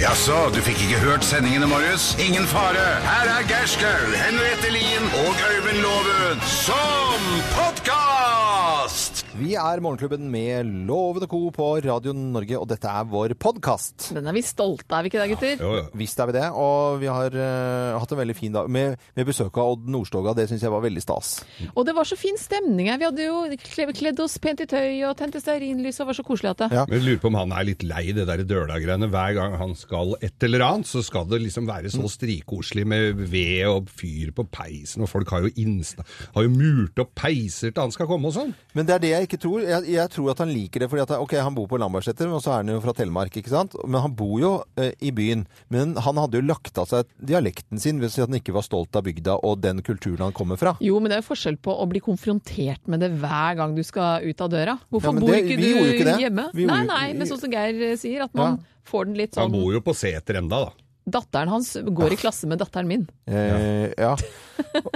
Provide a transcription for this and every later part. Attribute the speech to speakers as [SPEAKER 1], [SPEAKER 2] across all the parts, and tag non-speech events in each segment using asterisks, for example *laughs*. [SPEAKER 1] Jaså, du fikk ikke hørt sendingene, Marius? Ingen fare. Her er Gerskaug, Henriette Lien og Øyvind Låven som podkast!
[SPEAKER 2] Vi er Morgenklubben med Loven og Co. på Radio Norge, og dette er vår podkast.
[SPEAKER 3] Den er vi stolte av, ikke det, gutter?
[SPEAKER 2] Visst er vi det, og vi har eh, hatt en veldig fin dag med, med besøk av Odd Nordstoga. Det syns jeg var veldig stas.
[SPEAKER 3] Og det var så fin stemning her. Vi hadde jo kle- kledd oss pent i tøy og tente stearinlys og var så koselig at det
[SPEAKER 2] Ja.
[SPEAKER 4] Men jeg lurer på om han er litt lei det der døla-greiene. Hver gang han skal et eller annet, så skal det liksom
[SPEAKER 3] Mm.
[SPEAKER 4] være så strikoselig med ved og fyr på peisen, og folk har jo, innsna, har jo murt opp peiser til han skal komme og sånn.
[SPEAKER 2] Men det er det jeg ikke tror. Jeg, jeg tror at han liker det fordi at ok, han bor på Lambertseter, og så er han jo fra Telemark, ikke sant? Men han bor jo eh, i byen. Men han hadde jo lagt av seg dialekten sin hvis han ikke var stolt av bygda og den kulturen han kommer fra.
[SPEAKER 3] Jo, men det er jo forskjell på å bli konfrontert med det hver gang du skal ut av døra. Hvorfor
[SPEAKER 2] Ja, men
[SPEAKER 3] bor
[SPEAKER 2] det-
[SPEAKER 3] ikke
[SPEAKER 2] vi gjorde jo ikke
[SPEAKER 3] du
[SPEAKER 2] det.
[SPEAKER 3] hjemme?
[SPEAKER 2] Vi
[SPEAKER 3] Nei,
[SPEAKER 2] gjorde-
[SPEAKER 3] nei, men sånn som Geir eh, sier, at man får den litt
[SPEAKER 4] Han
[SPEAKER 3] sånn
[SPEAKER 4] bor jo på seter enda, da.
[SPEAKER 3] Datteren hans går i klasse med datteren min.
[SPEAKER 2] Eh, ja.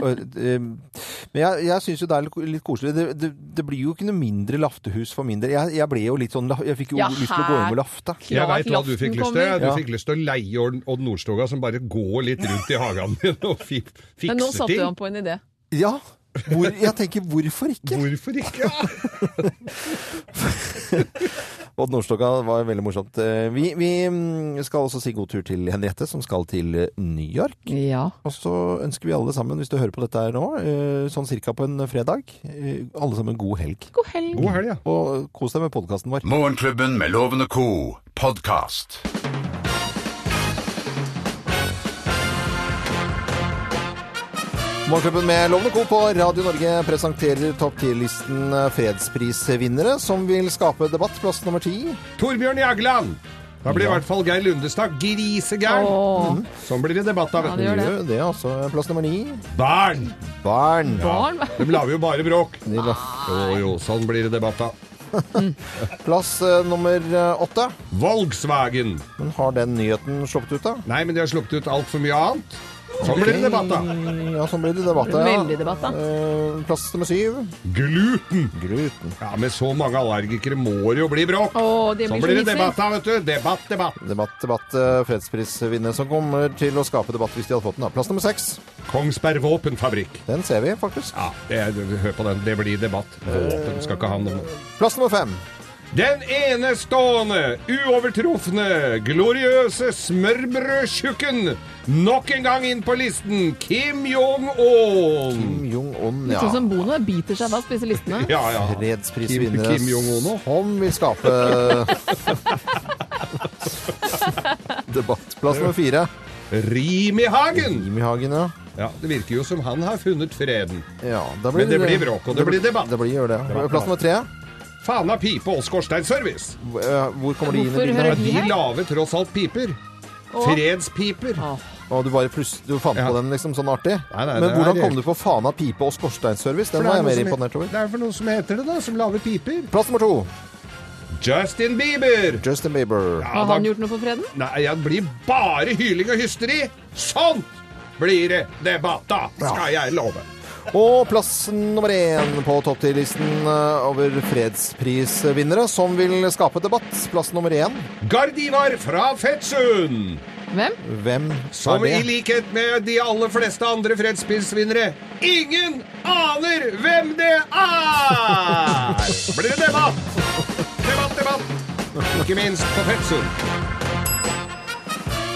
[SPEAKER 2] Og, eh, Men jeg, jeg syns jo det er litt- litt koselig. Det, det, det blir jo ikke noe mindre laftehus for min del. Jeg, jeg ble jo litt sånn la- Jeg fikk jo
[SPEAKER 3] Ja,
[SPEAKER 2] lyst til å gå hjem
[SPEAKER 3] her-
[SPEAKER 2] og lafte.
[SPEAKER 4] Jeg
[SPEAKER 3] Klart
[SPEAKER 4] veit hva du
[SPEAKER 3] laften
[SPEAKER 4] fikk lyst til.
[SPEAKER 3] kommer.
[SPEAKER 4] Du
[SPEAKER 2] Ja.
[SPEAKER 4] fikk lyst til å leie Odd Odd Nordstoga som bare går litt rundt i hagen *laughs* din og fi,
[SPEAKER 3] Men nå
[SPEAKER 4] fikser
[SPEAKER 3] satte
[SPEAKER 4] ting.
[SPEAKER 3] han på en idé.
[SPEAKER 2] Ja! Hvor, jeg tenker hvorfor ikke?
[SPEAKER 4] Hvorfor ikke?
[SPEAKER 2] Odd Nordstoga var veldig morsomt. Eh, Vi, vi mm, skal også si god tur til Henriette, som skal til eh, New York.
[SPEAKER 3] Ja.
[SPEAKER 2] Og så ønsker vi alle sammen, hvis du hører på dette her nå, eh, sånn cirka på en fredag, eh, alle sammen god helg.
[SPEAKER 3] God helg.
[SPEAKER 4] God helg, ja.
[SPEAKER 2] Og kos deg med podkasten vår.
[SPEAKER 1] Morgenklubben med Loven og Co. podkast.
[SPEAKER 2] Morgenklubben med Lovende Co. på Radio Norge presenterer topp 10-listen fredsprisvinnere, som vil skape debatt. Plass nummer ti.
[SPEAKER 4] Torbjørn Jagland! Da blir i hvert fall Geir Lundestad grisegæren.
[SPEAKER 3] Åh,
[SPEAKER 2] Mm.
[SPEAKER 4] Sånn blir det debatt av
[SPEAKER 3] Ja, det gjør det.
[SPEAKER 2] Det er altså plass nummer ni.
[SPEAKER 4] barn.
[SPEAKER 2] Barn.
[SPEAKER 3] barn.
[SPEAKER 4] De lager jo bare bråk.
[SPEAKER 2] De la-
[SPEAKER 4] Jo, jo, sånn blir det debatt av.
[SPEAKER 2] Plass eh, nummer eh, åtte.
[SPEAKER 4] Volkswagen.
[SPEAKER 2] Men har den nyheten sluppet ut, da?
[SPEAKER 4] Nei, men de har sluppet ut altfor mye annet. Sånn blir det debatt, da.
[SPEAKER 2] Mm, Ja, sånn blir det debatt. ja.
[SPEAKER 3] Veldig debatt, da.
[SPEAKER 2] Eh, Plass nummer syv.
[SPEAKER 4] Gluten.
[SPEAKER 2] Gluten.
[SPEAKER 4] Ja, med så mange allergikere må det jo bli bråk.
[SPEAKER 3] Åh, det
[SPEAKER 4] Sånn
[SPEAKER 3] blir
[SPEAKER 4] blir
[SPEAKER 3] så
[SPEAKER 4] det
[SPEAKER 3] mikser.
[SPEAKER 4] debatt, da, vet du. Debatt, debatt.
[SPEAKER 2] Debatt, debatt. eh, Fredsprisvinnere som kommer til å skape debatt hvis de hadde fått den. da. Plass nummer seks.
[SPEAKER 4] Kongsberg våpenfabrikk.
[SPEAKER 2] Den ser vi, faktisk.
[SPEAKER 4] Ja, det, er- hør på den. Det blir debatt. Våpen skal ikke ha noe
[SPEAKER 2] Plass nummer fem.
[SPEAKER 4] Den enestående, uovertrufne, gloriøse smørbrødtjukken nok en gang inn på listen, Kim Jong-un.
[SPEAKER 2] Jong-un,
[SPEAKER 3] Litt
[SPEAKER 2] ja.
[SPEAKER 3] sånn som Bono biter seg fast på disse
[SPEAKER 2] *laughs*
[SPEAKER 3] listene.
[SPEAKER 4] Ja, ja.
[SPEAKER 2] Fredsprisvinnere
[SPEAKER 4] Kim- Kim Jong-un nå?
[SPEAKER 2] som
[SPEAKER 4] *laughs*
[SPEAKER 2] vil skape debatt. Plass nummer fire.
[SPEAKER 4] Rim i hagen.
[SPEAKER 2] Jimmy Hagen, ja.
[SPEAKER 4] Ja, Det virker jo som han har funnet freden.
[SPEAKER 2] ja da
[SPEAKER 4] Men det blir bråk, og det blir debatt.
[SPEAKER 2] Det blir gjør det.
[SPEAKER 4] Debatt.
[SPEAKER 2] Plass nummer tre.
[SPEAKER 4] Fana pipe og skorsteinservice.
[SPEAKER 2] Hvor eh, hvor kommer de inn i
[SPEAKER 3] Hvorfor
[SPEAKER 2] bildet?
[SPEAKER 4] Ja,
[SPEAKER 3] hører
[SPEAKER 2] her?
[SPEAKER 4] de
[SPEAKER 3] her?
[SPEAKER 4] lager tross alt piper.
[SPEAKER 3] Åh.
[SPEAKER 4] Fredspiper.
[SPEAKER 3] Åh.
[SPEAKER 2] Og du bare pluss, du fant
[SPEAKER 4] Ja.
[SPEAKER 2] på den liksom sånn artig.
[SPEAKER 4] Nei, nei,
[SPEAKER 2] Men
[SPEAKER 4] det
[SPEAKER 2] hvordan
[SPEAKER 4] er-
[SPEAKER 2] kom du på Fana pipe og skorsteinservice? Den
[SPEAKER 4] For det
[SPEAKER 2] var
[SPEAKER 4] er noe
[SPEAKER 2] jeg mer
[SPEAKER 4] som he-
[SPEAKER 2] imponert over.
[SPEAKER 4] Det er for noen som heter det, da, som lager piper.
[SPEAKER 2] Plass nummer to.
[SPEAKER 4] Justin Bieber!
[SPEAKER 2] Justin Bieber.
[SPEAKER 4] Ja,
[SPEAKER 3] Har
[SPEAKER 4] da-
[SPEAKER 3] han gjort noe for freden?
[SPEAKER 4] Nei, det blir bare hyling og hysteri. Sånt blir det debatt, da, skal jeg love.
[SPEAKER 2] Og plass nummer én på topp 10-listen eh, over fredsprisvinnere som vil skape debatt. Plass nummer én.
[SPEAKER 4] Gardivar fra Fettsund,
[SPEAKER 3] Hvem?
[SPEAKER 2] Hvem
[SPEAKER 4] som i
[SPEAKER 2] er det?
[SPEAKER 4] likhet med de aller fleste andre fredsprisvinnere ingen aner hvem det er! Blir det debatt? Debatt, debatt. Ikke minst på Fettsund.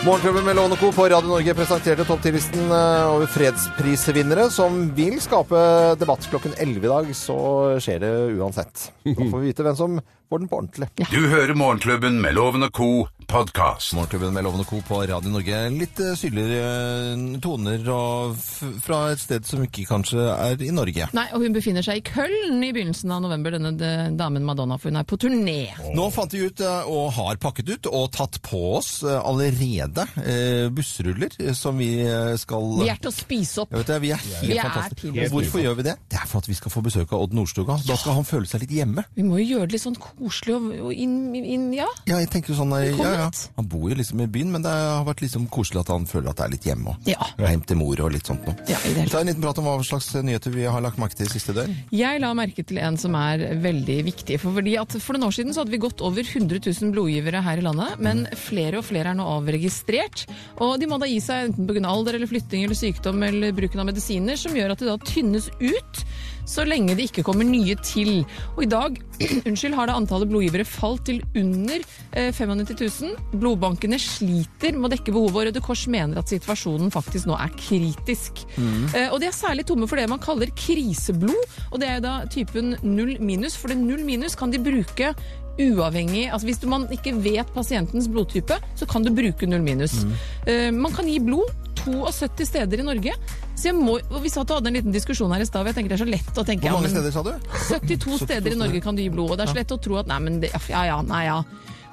[SPEAKER 2] Morgenklubben med Låne Co. på Radio Norge presenterte topp 10-listen eh, over fredsprisvinnere som vil skape debatt. Klokken 11 i dag så skjer det uansett. Da får vi vite hvem som får den på ordentlig.
[SPEAKER 1] Du hører Morgenklubben med Loven og Co. podkast.
[SPEAKER 2] Morgenklubben med Lovende Co. på Radio Norge. Litt eh, syrligere eh, toner og f fra et sted som ikke kanskje er i Norge.
[SPEAKER 3] Nei, og hun befinner seg i Køln i begynnelsen av november, denne d- damen Madonna, for hun er på turné.
[SPEAKER 2] Nå fant vi ut, eh, og har pakket ut, og tatt på oss eh, allerede eh, bussruller eh, som vi eh, skal
[SPEAKER 3] Vi er til å spise opp.
[SPEAKER 2] Jeg vet det, vi er helt
[SPEAKER 3] Vi er
[SPEAKER 2] fantastiske.
[SPEAKER 3] til å
[SPEAKER 2] Og Hvorfor gjør vi det? Det er for at vi skal få besøk av Odd Nordstoga. Da skal han føle seg litt hjemme.
[SPEAKER 3] Vi må jo gjøre det litt sånn koselig og, og inn, inn Ja.
[SPEAKER 2] Ja, jeg tenker jo sånn eh,
[SPEAKER 3] Kom
[SPEAKER 2] ja, ja,
[SPEAKER 5] Perfekt.
[SPEAKER 2] Han bor jo liksom i byen, men det har vært liksom koselig at han føler at det er litt hjemme. Og
[SPEAKER 3] Ja.
[SPEAKER 2] Hjem til mor og litt sånt noe.
[SPEAKER 3] Ja, i det hele
[SPEAKER 2] Ta en liten prat om hva slags nyheter vi har lagt merke til siste døgn.
[SPEAKER 3] Jeg la merke til en som er veldig viktig. For, fordi at for noen år siden så hadde vi gått over 100 000 blodgivere her i landet, men flere og flere er nå avregistrert. Og de må da gi seg enten pga. alder eller flytting eller sykdom eller bruken av medisiner, som gjør at de da tynnes ut. Så lenge det ikke kommer nye til. Og i dag *clears throat* unnskyld, har da antallet blodgivere falt til under eh, 95 000. Blodbankene sliter med å dekke behovet, og Røde Kors mener at situasjonen faktisk nå er kritisk.
[SPEAKER 2] Mm.
[SPEAKER 3] Eh, Og de er særlig tomme for det man kaller kriseblod, og det er jo da typen null minus, for det null minus kan de bruke uavhengig, altså Hvis du- man ikke vet pasientens blodtype, så kan du bruke null minus.
[SPEAKER 2] Mm.
[SPEAKER 3] Eh, Man kan gi blod 72 steder i Norge. Så jeg må, og Vi satt og hadde en liten diskusjon her i stad, og jeg tenker det er så lett å tenke
[SPEAKER 2] Hvor
[SPEAKER 3] ja,
[SPEAKER 2] mange
[SPEAKER 3] men-
[SPEAKER 2] steder sa du?
[SPEAKER 3] 72 steder i Norge kan du gi blod, og det er så lett å tro at nei, men det, ja, ja, nei, ja.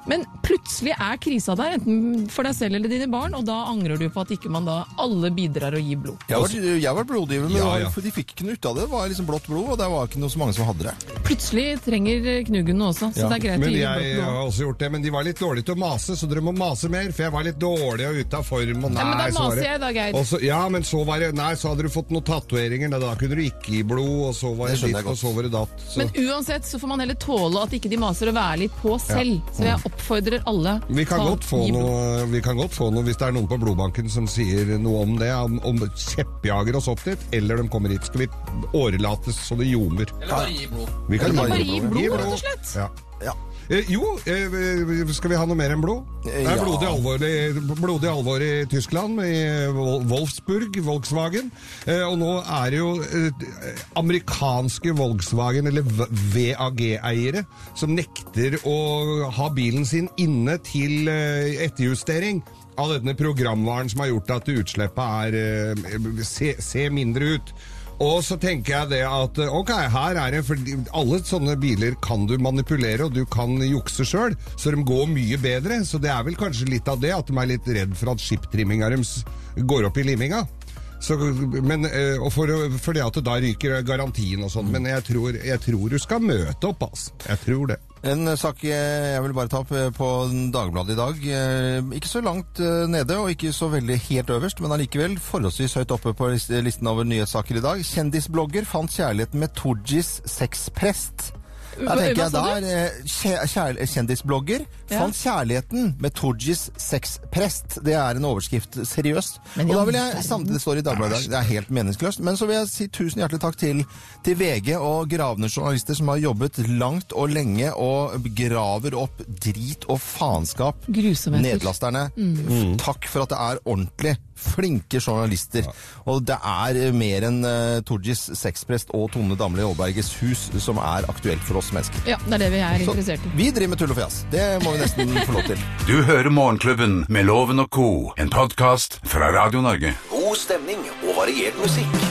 [SPEAKER 3] Men plutselig er krisa der, enten for deg selv eller dine barn, og da angrer du på at ikke man da alle bidrar å gi blod.
[SPEAKER 2] Jeg har vært, jeg har vært blodgiver, men
[SPEAKER 4] Ja,
[SPEAKER 2] det var-
[SPEAKER 4] ja.
[SPEAKER 2] for de fikk ikke noe ut av det. Det var liksom blått blod, og det var ikke noe så mange som hadde det.
[SPEAKER 3] Plutselig trenger knugen noe også, så
[SPEAKER 2] Ja,
[SPEAKER 3] det er greit å
[SPEAKER 4] Men
[SPEAKER 3] gi
[SPEAKER 4] jeg,
[SPEAKER 3] blod.
[SPEAKER 4] har også gjort det, men de var litt dårlige til å mase, så dere må mase mer, for jeg var litt dårlig og ute av form. Og nei,
[SPEAKER 3] Ja, men da
[SPEAKER 4] så var
[SPEAKER 3] maser
[SPEAKER 4] det-
[SPEAKER 3] jeg da, Geir.
[SPEAKER 4] Og så, ja, men så var det Nei, så hadde du fått noen tatoveringer, da, da kunne du ikke gi blod, og så var
[SPEAKER 2] Det
[SPEAKER 4] det
[SPEAKER 2] skjønner jeg
[SPEAKER 4] ditt, og
[SPEAKER 2] godt.
[SPEAKER 4] så var det datt. Så.
[SPEAKER 3] Men uansett så får man heller tåle at ikke de maser og være litt på selv. Så jeg oppfordrer alle
[SPEAKER 4] Mm. Vi kan,
[SPEAKER 3] ta-
[SPEAKER 4] godt få
[SPEAKER 3] gi blod.
[SPEAKER 4] noe, vi kan godt få noe hvis det er noen på blodbanken som sier noe om det, om, om kjeppjager oss opp dit, eller de kommer hit. Skal vi årelates så det ljomer?
[SPEAKER 6] Eller bare gi blod.
[SPEAKER 4] Vi kan
[SPEAKER 2] Eller bare
[SPEAKER 4] gi
[SPEAKER 2] gi
[SPEAKER 3] blod, rett og slett.
[SPEAKER 4] Ja.
[SPEAKER 2] Ja.
[SPEAKER 4] Eh, jo, eh, skal vi ha noe mer enn blod? Det er
[SPEAKER 2] ja.
[SPEAKER 4] blodig alvor, i- blodig alvor i Tyskland, i Vol- Wolfsburg, Volkswagen. Eh, og nå er det jo eh, amerikanske Volkswagen, eller V- VAG-eiere, som nekter å ha bilen sin inne til eh, etterjustering av denne programvaren som har gjort at utslippet er, eh, se, ser mindre ut. Og så tenker jeg det at eh, ok, her er det for alle sånne biler kan du manipulere, og du kan jukse sjøl, så de går mye bedre. Så det er vel kanskje litt av det at de er litt redd for at skiptrimminga deres går opp i liminga. Så, men, eh, og for, for det at da ryker garantien og sånn. Men jeg tror, jeg tror du skal møte opp, altså. Jeg tror det.
[SPEAKER 2] En eh, sak eh, jeg vil bare ta opp eh, på Dagbladet i dag. Eh, Ikke så langt eh, nede, og ikke så veldig helt øverst, men allikevel forholdsvis høyt oppe på lis- listen over nyhetssaker i dag. Kjendisblogger fant kjærligheten med Torgis sexprest.
[SPEAKER 3] Hva-
[SPEAKER 2] Der tenker
[SPEAKER 3] hva
[SPEAKER 2] jeg
[SPEAKER 3] sa du?
[SPEAKER 2] der, eh, kjæ- kjær- Kjendisblogger
[SPEAKER 3] Ja.
[SPEAKER 2] fant kjærligheten med Torgis sexprest. Det er en overskrift. Seriøst.
[SPEAKER 3] Men i
[SPEAKER 2] Og da
[SPEAKER 3] all
[SPEAKER 2] vil jeg
[SPEAKER 3] verden.
[SPEAKER 2] samtidig står i Dagbladet i dag. Det er helt meningsløst. Men så vil jeg si tusen hjertelig takk til, til VG og gravende journalister som har jobbet langt og lenge og graver opp drit og faenskap.
[SPEAKER 3] Grusomheter.
[SPEAKER 2] Nedlasterne.
[SPEAKER 3] Mm.
[SPEAKER 2] Takk for at det er ordentlig. Flinke journalister. Og det er eh, mer enn uh, Torgis sexprest og Tone Damli Aalberges hus som er aktuelt for oss mennesker.
[SPEAKER 3] Ja, det er det vi er
[SPEAKER 2] Så
[SPEAKER 3] interessert i.
[SPEAKER 2] vi driver med tull og fjas. Det må vi nesten få lov til.
[SPEAKER 1] Du hører Morgenklubben med Loven og Co., en podkast fra Radio Norge.
[SPEAKER 6] God stemning og variert musikk.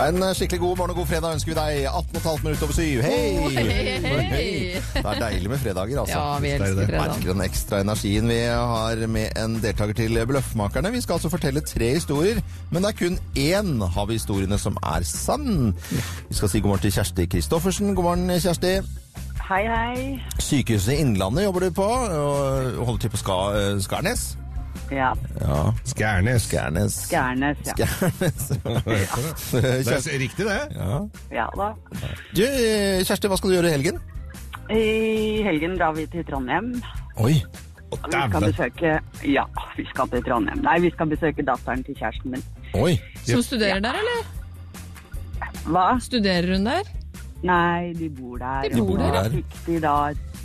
[SPEAKER 2] En eh, skikkelig god morgen og god fredag ønsker vi deg. 18,5 minutter over syv. Hei!
[SPEAKER 3] Oh, hei, hei, hei.
[SPEAKER 2] Det er deilig med fredager, altså.
[SPEAKER 3] Ja, vi elsker fredag.
[SPEAKER 2] Merker den ekstra energien vi har med en deltaker til Bløffmakerne. Vi skal altså fortelle tre historier, men det er kun én av historiene som er sann. Vi skal si god morgen til Kjersti Kristoffersen. God morgen, Kjersti.
[SPEAKER 7] Hei, hei.
[SPEAKER 2] Sykehuset Innlandet jobber du på, og holder til på Ska, eh, Skarnes.
[SPEAKER 7] Ja,
[SPEAKER 4] Skærnes.
[SPEAKER 2] Skarnes. *laughs*
[SPEAKER 7] Skærnes, ja.
[SPEAKER 2] Skarnes.
[SPEAKER 4] Det
[SPEAKER 2] Kjersti.
[SPEAKER 4] er riktig, det.
[SPEAKER 7] ja da.
[SPEAKER 2] Du, eh, Kjersti, hva skal du gjøre i helgen?
[SPEAKER 7] I helgen drar vi til Trondheim.
[SPEAKER 2] Oi.
[SPEAKER 4] Å,
[SPEAKER 7] Vi skal
[SPEAKER 4] Dæven.
[SPEAKER 7] besøke Ja, vi skal til Trondheim. Nei, vi skal besøke datteren til kjæresten min.
[SPEAKER 2] Oi.
[SPEAKER 3] Som studerer der, eller?
[SPEAKER 7] Hva?
[SPEAKER 3] Studerer hun der? *laughs*
[SPEAKER 7] Nei, de bor der.
[SPEAKER 3] De
[SPEAKER 7] Og
[SPEAKER 3] bor
[SPEAKER 2] der.
[SPEAKER 7] så Fikk de da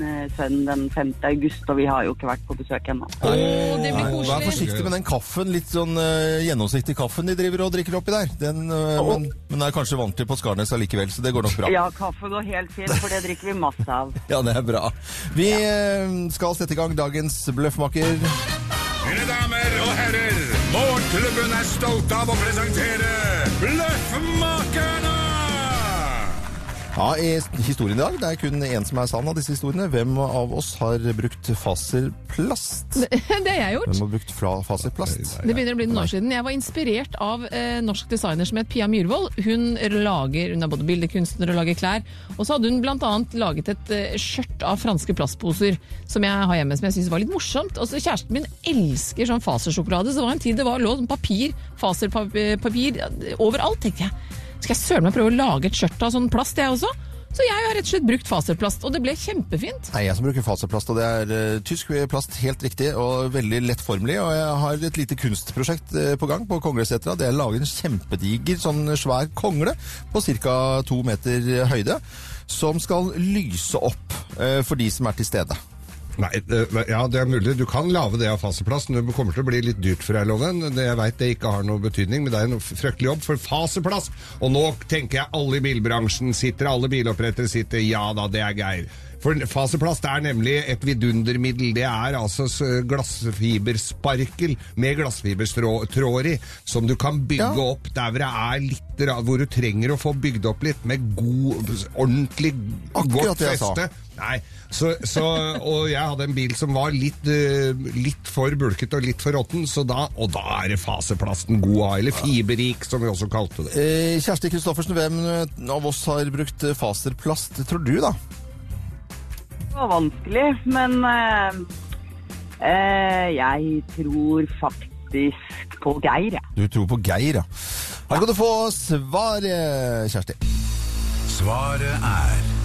[SPEAKER 7] eh, sønnen den 5. august, og vi har jo ikke vært på besøk ennå.
[SPEAKER 3] Å, det blir
[SPEAKER 2] Nei, Vær
[SPEAKER 3] koselig.
[SPEAKER 2] forsiktig med den kaffen, litt sånn eh, gjennomsiktig kaffen de driver og drikker oppi der. Den, eh, men, men er kanskje vant til på Skarnes allikevel, så det går nok bra. Ja,
[SPEAKER 7] Ja, kaffe går helt fint, for det drikker vi masse av.
[SPEAKER 2] det er bra. Vi eh, skal sette i gang dagens bløffmaker.
[SPEAKER 1] Mine damer og herrer, Morgenklubben er stolt av å presentere Bløffmakerne!
[SPEAKER 2] Ja, i s- historien i dag, det er kun én som er sann av disse historiene. Hvem av oss har brukt faserplast?
[SPEAKER 3] Det har jeg gjort.
[SPEAKER 2] Hvem har brukt fla- faserplast?
[SPEAKER 3] Det begynner å bli noen år siden. Jeg var inspirert av eh, norsk designer som het Pia Myhrvold. Hun, lager, hun er både bildekunstner og lager klær. Og så hadde hun bl.a. laget et eh, skjørt av franske plastposer som jeg har hjemme, som jeg syns var litt morsomt. Og så Kjæresten min elsker sånn fasersjokolade, så det var en tid det var lå sånn papir, faserpapir overalt, tenkte jeg. Skal jeg søren meg prøve å lage et skjørt av sånn plast, jeg også? Så jeg har rett og slett brukt faserplast, og det ble kjempefint.
[SPEAKER 2] Nei, jeg som bruker faserplast, og det er eh, tysk plast, helt riktig, og veldig lettformelig. Og jeg har et lite kunstprosjekt eh, på gang på Konglesetra. Det er å lage en kjempediger, sånn svær kongle på ca. to meter eh, høyde, som skal lyse opp eh, for de som er til stede.
[SPEAKER 4] Nei, det- ja, det er mulig. Du kan lage det av faseplast, men det kommer til å bli litt dyrt for deg, Loven. Det- Jeg veit det ikke har noe betydning, men det er en fryktelig jobb for faseplast. Og nå tenker jeg alle i bilbransjen sitter, alle bilopprettere sitter. Ja da, det er Geir. For faseplast er nemlig et vidundermiddel. Det er altså s- glassfibersparkel med glassfibertråder i, som du kan bygge
[SPEAKER 2] Ja.
[SPEAKER 4] opp der hvor det er litt ra- Hvor du trenger å få bygd opp litt med god, ordentlig
[SPEAKER 2] Akkurat
[SPEAKER 4] godt
[SPEAKER 2] det jeg sa.
[SPEAKER 4] feste. Nei, så, så, og jeg hadde en bil som var litt, eh, litt for bulket og litt for råtten, så da, og da er det faseplasten god av, eller fiberrik, som vi også kalte det.
[SPEAKER 2] Eh, Kjersti Kristoffersen, hvem eh, av oss har brukt eh, faserplast, tror du da?
[SPEAKER 7] Det var vanskelig, men eh, eh, jeg tror faktisk på Geir, jeg.
[SPEAKER 2] Du tror på Geir, ja. Her skal du få svar, eh, Kjersti.
[SPEAKER 1] Svaret er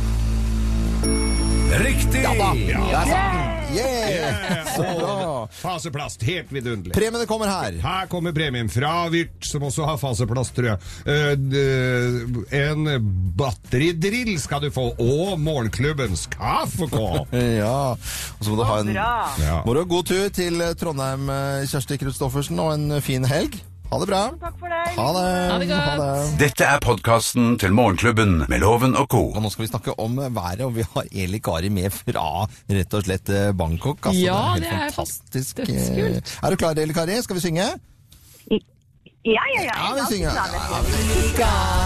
[SPEAKER 1] Riktig!
[SPEAKER 2] Det er sant. Yeah! Så bra.
[SPEAKER 4] Faseplast, helt vidunderlig.
[SPEAKER 2] Premiene kommer her.
[SPEAKER 4] Her kommer premien fra Vyrt, som også har faseplast, tror jeg. Eh, d- En batteridrill skal du få, og morgenklubbens kaffekopp.
[SPEAKER 2] *laughs* Ja, og så må du ha en
[SPEAKER 7] Bra.
[SPEAKER 4] Ja.
[SPEAKER 2] Må du ha god tur til Trondheim, eh, Kjersti Kristoffersen, og en eh, fin helg. Ha det bra.
[SPEAKER 7] Takk for deg.
[SPEAKER 2] Ha det.
[SPEAKER 3] Ha det godt.
[SPEAKER 1] Dette er podkasten til Morgenklubben med Loven og co.
[SPEAKER 2] Og nå skal vi snakke om eh, været, og vi har Eli Kari med fra rett og slett eh, Bangkok. Altså,
[SPEAKER 3] Ja,
[SPEAKER 2] det er, helt
[SPEAKER 3] det er
[SPEAKER 2] fantastisk. eh.
[SPEAKER 3] dødskult.
[SPEAKER 2] Er du klar, Eli Kari? Skal vi synge?
[SPEAKER 7] Ja, ja, ja.
[SPEAKER 2] Ja, vi synger. Ja, ja.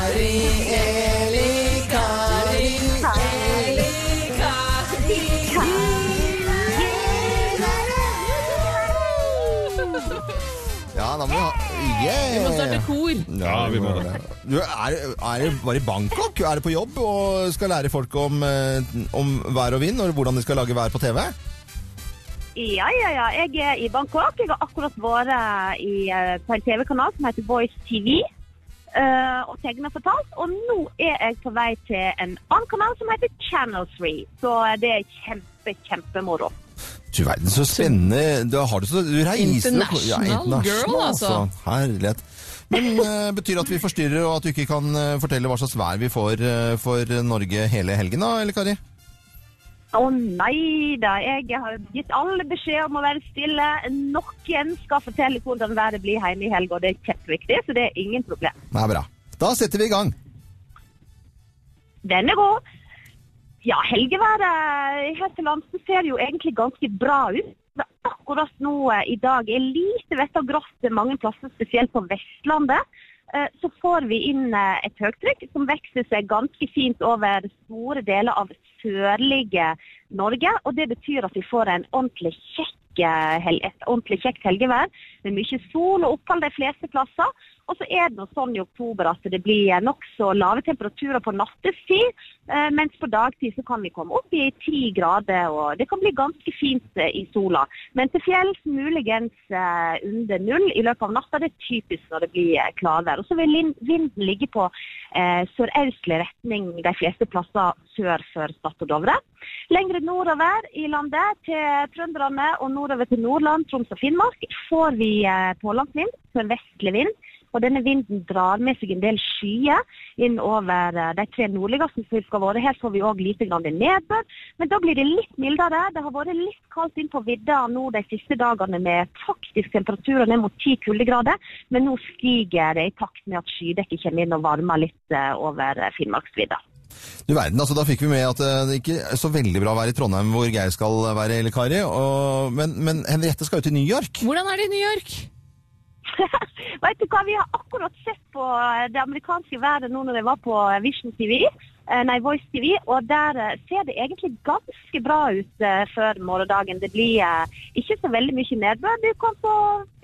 [SPEAKER 2] ja, da må vi ha yeah.
[SPEAKER 3] Vi må starte kor.
[SPEAKER 4] Ja, vi må det.
[SPEAKER 2] Du, er, er det bare i Bangkok? Er det på jobb og skal lære folk om, eh, om vær og vind og hvordan de skal lage vær på TV?
[SPEAKER 5] Ja, ja, ja. Jeg er i Bangkok. Jeg har akkurat vært i, eh, på en TV-kanal som heter Voice TV. eh, og tegnet fortalt. Og nå er jeg på vei til en annen kanal som heter Channel 3. Så eh, det er kjempe, kjempemoro.
[SPEAKER 2] Du verden, så spennende. Du har det så du reiser og-
[SPEAKER 3] International girl, altså.
[SPEAKER 2] Herlighet.
[SPEAKER 3] *laughs*
[SPEAKER 2] Men eh, betyr det at vi forstyrrer og at du ikke kan eh, fortelle hva slags vær vi får eh, for Norge hele helgen da, eller Kari?
[SPEAKER 5] Å nei da, jeg har gitt alle beskjed om å være stille. Noen skal fortelle hvordan været blir hjemme i helga, og det er kjempeviktig, så det er ingen problem.
[SPEAKER 2] Nei, bra. Da setter vi i gang.
[SPEAKER 5] Den er god. Ja, helgeværet her til lands det ser jo egentlig ganske bra ut. Men akkurat nå eh, i dag er lite vett og grått mange plasser, spesielt på Vestlandet. Eh, Så får vi inn eh, et høytrykk som vokser seg ganske fint over store deler av sørlige Norge. Og det betyr at vi får en ordentlig kjekk, eh, hel- et ordentlig kjekt helgevær med mye sol og opphold de fleste plasser. Og så er det nå sånn i oktober at det blir nokså lave temperaturer på nattestid, eh, mens på dagtid så kan vi komme opp i ti grader, og det kan bli ganske fint eh, i sola. Men til fjells muligens eh, under null i løpet av natta. Det er typisk når det blir eh, klarvær. Og så vil lin- vinden ligge på eh, sørøstlig retning de fleste plasser sør for Stad og Dovre. Lengre nordover i landet, til trønderne og nordover til Nordland, Troms og Finnmark, får vi eh, pålandsvind, sørvestlig vind. Og denne vinden drar med seg en del skyer inn over eh, de tre nordligste fylkene våre. Her får vi òg lite grann nedbør, men da blir det litt mildere. Det har vært litt kaldt inn på vidda nå de siste dagene med faktisk temperaturer ned mot 10 kuldegrader, men nå stiger det i takt med at skydekket kommer inn og varmer litt eh, over eh, Finnmarksvidda.
[SPEAKER 2] Du verden, altså da fikk vi med at eh, det ikke er så veldig bra vær i Trondheim hvor Geir skal være, eller Kari. Og, men, men Henriette skal jo til New York.
[SPEAKER 3] Hvordan er det i New York?
[SPEAKER 5] eh, Vet du hva, Vi har akkurat sett på det amerikanske været nå når jeg var på eh, Vision TV. eh, nei, Voice TV, og der eh, ser det egentlig ganske bra ut eh, før morgendagen. Det blir eh, ikke så veldig mye nedbør. Du kan få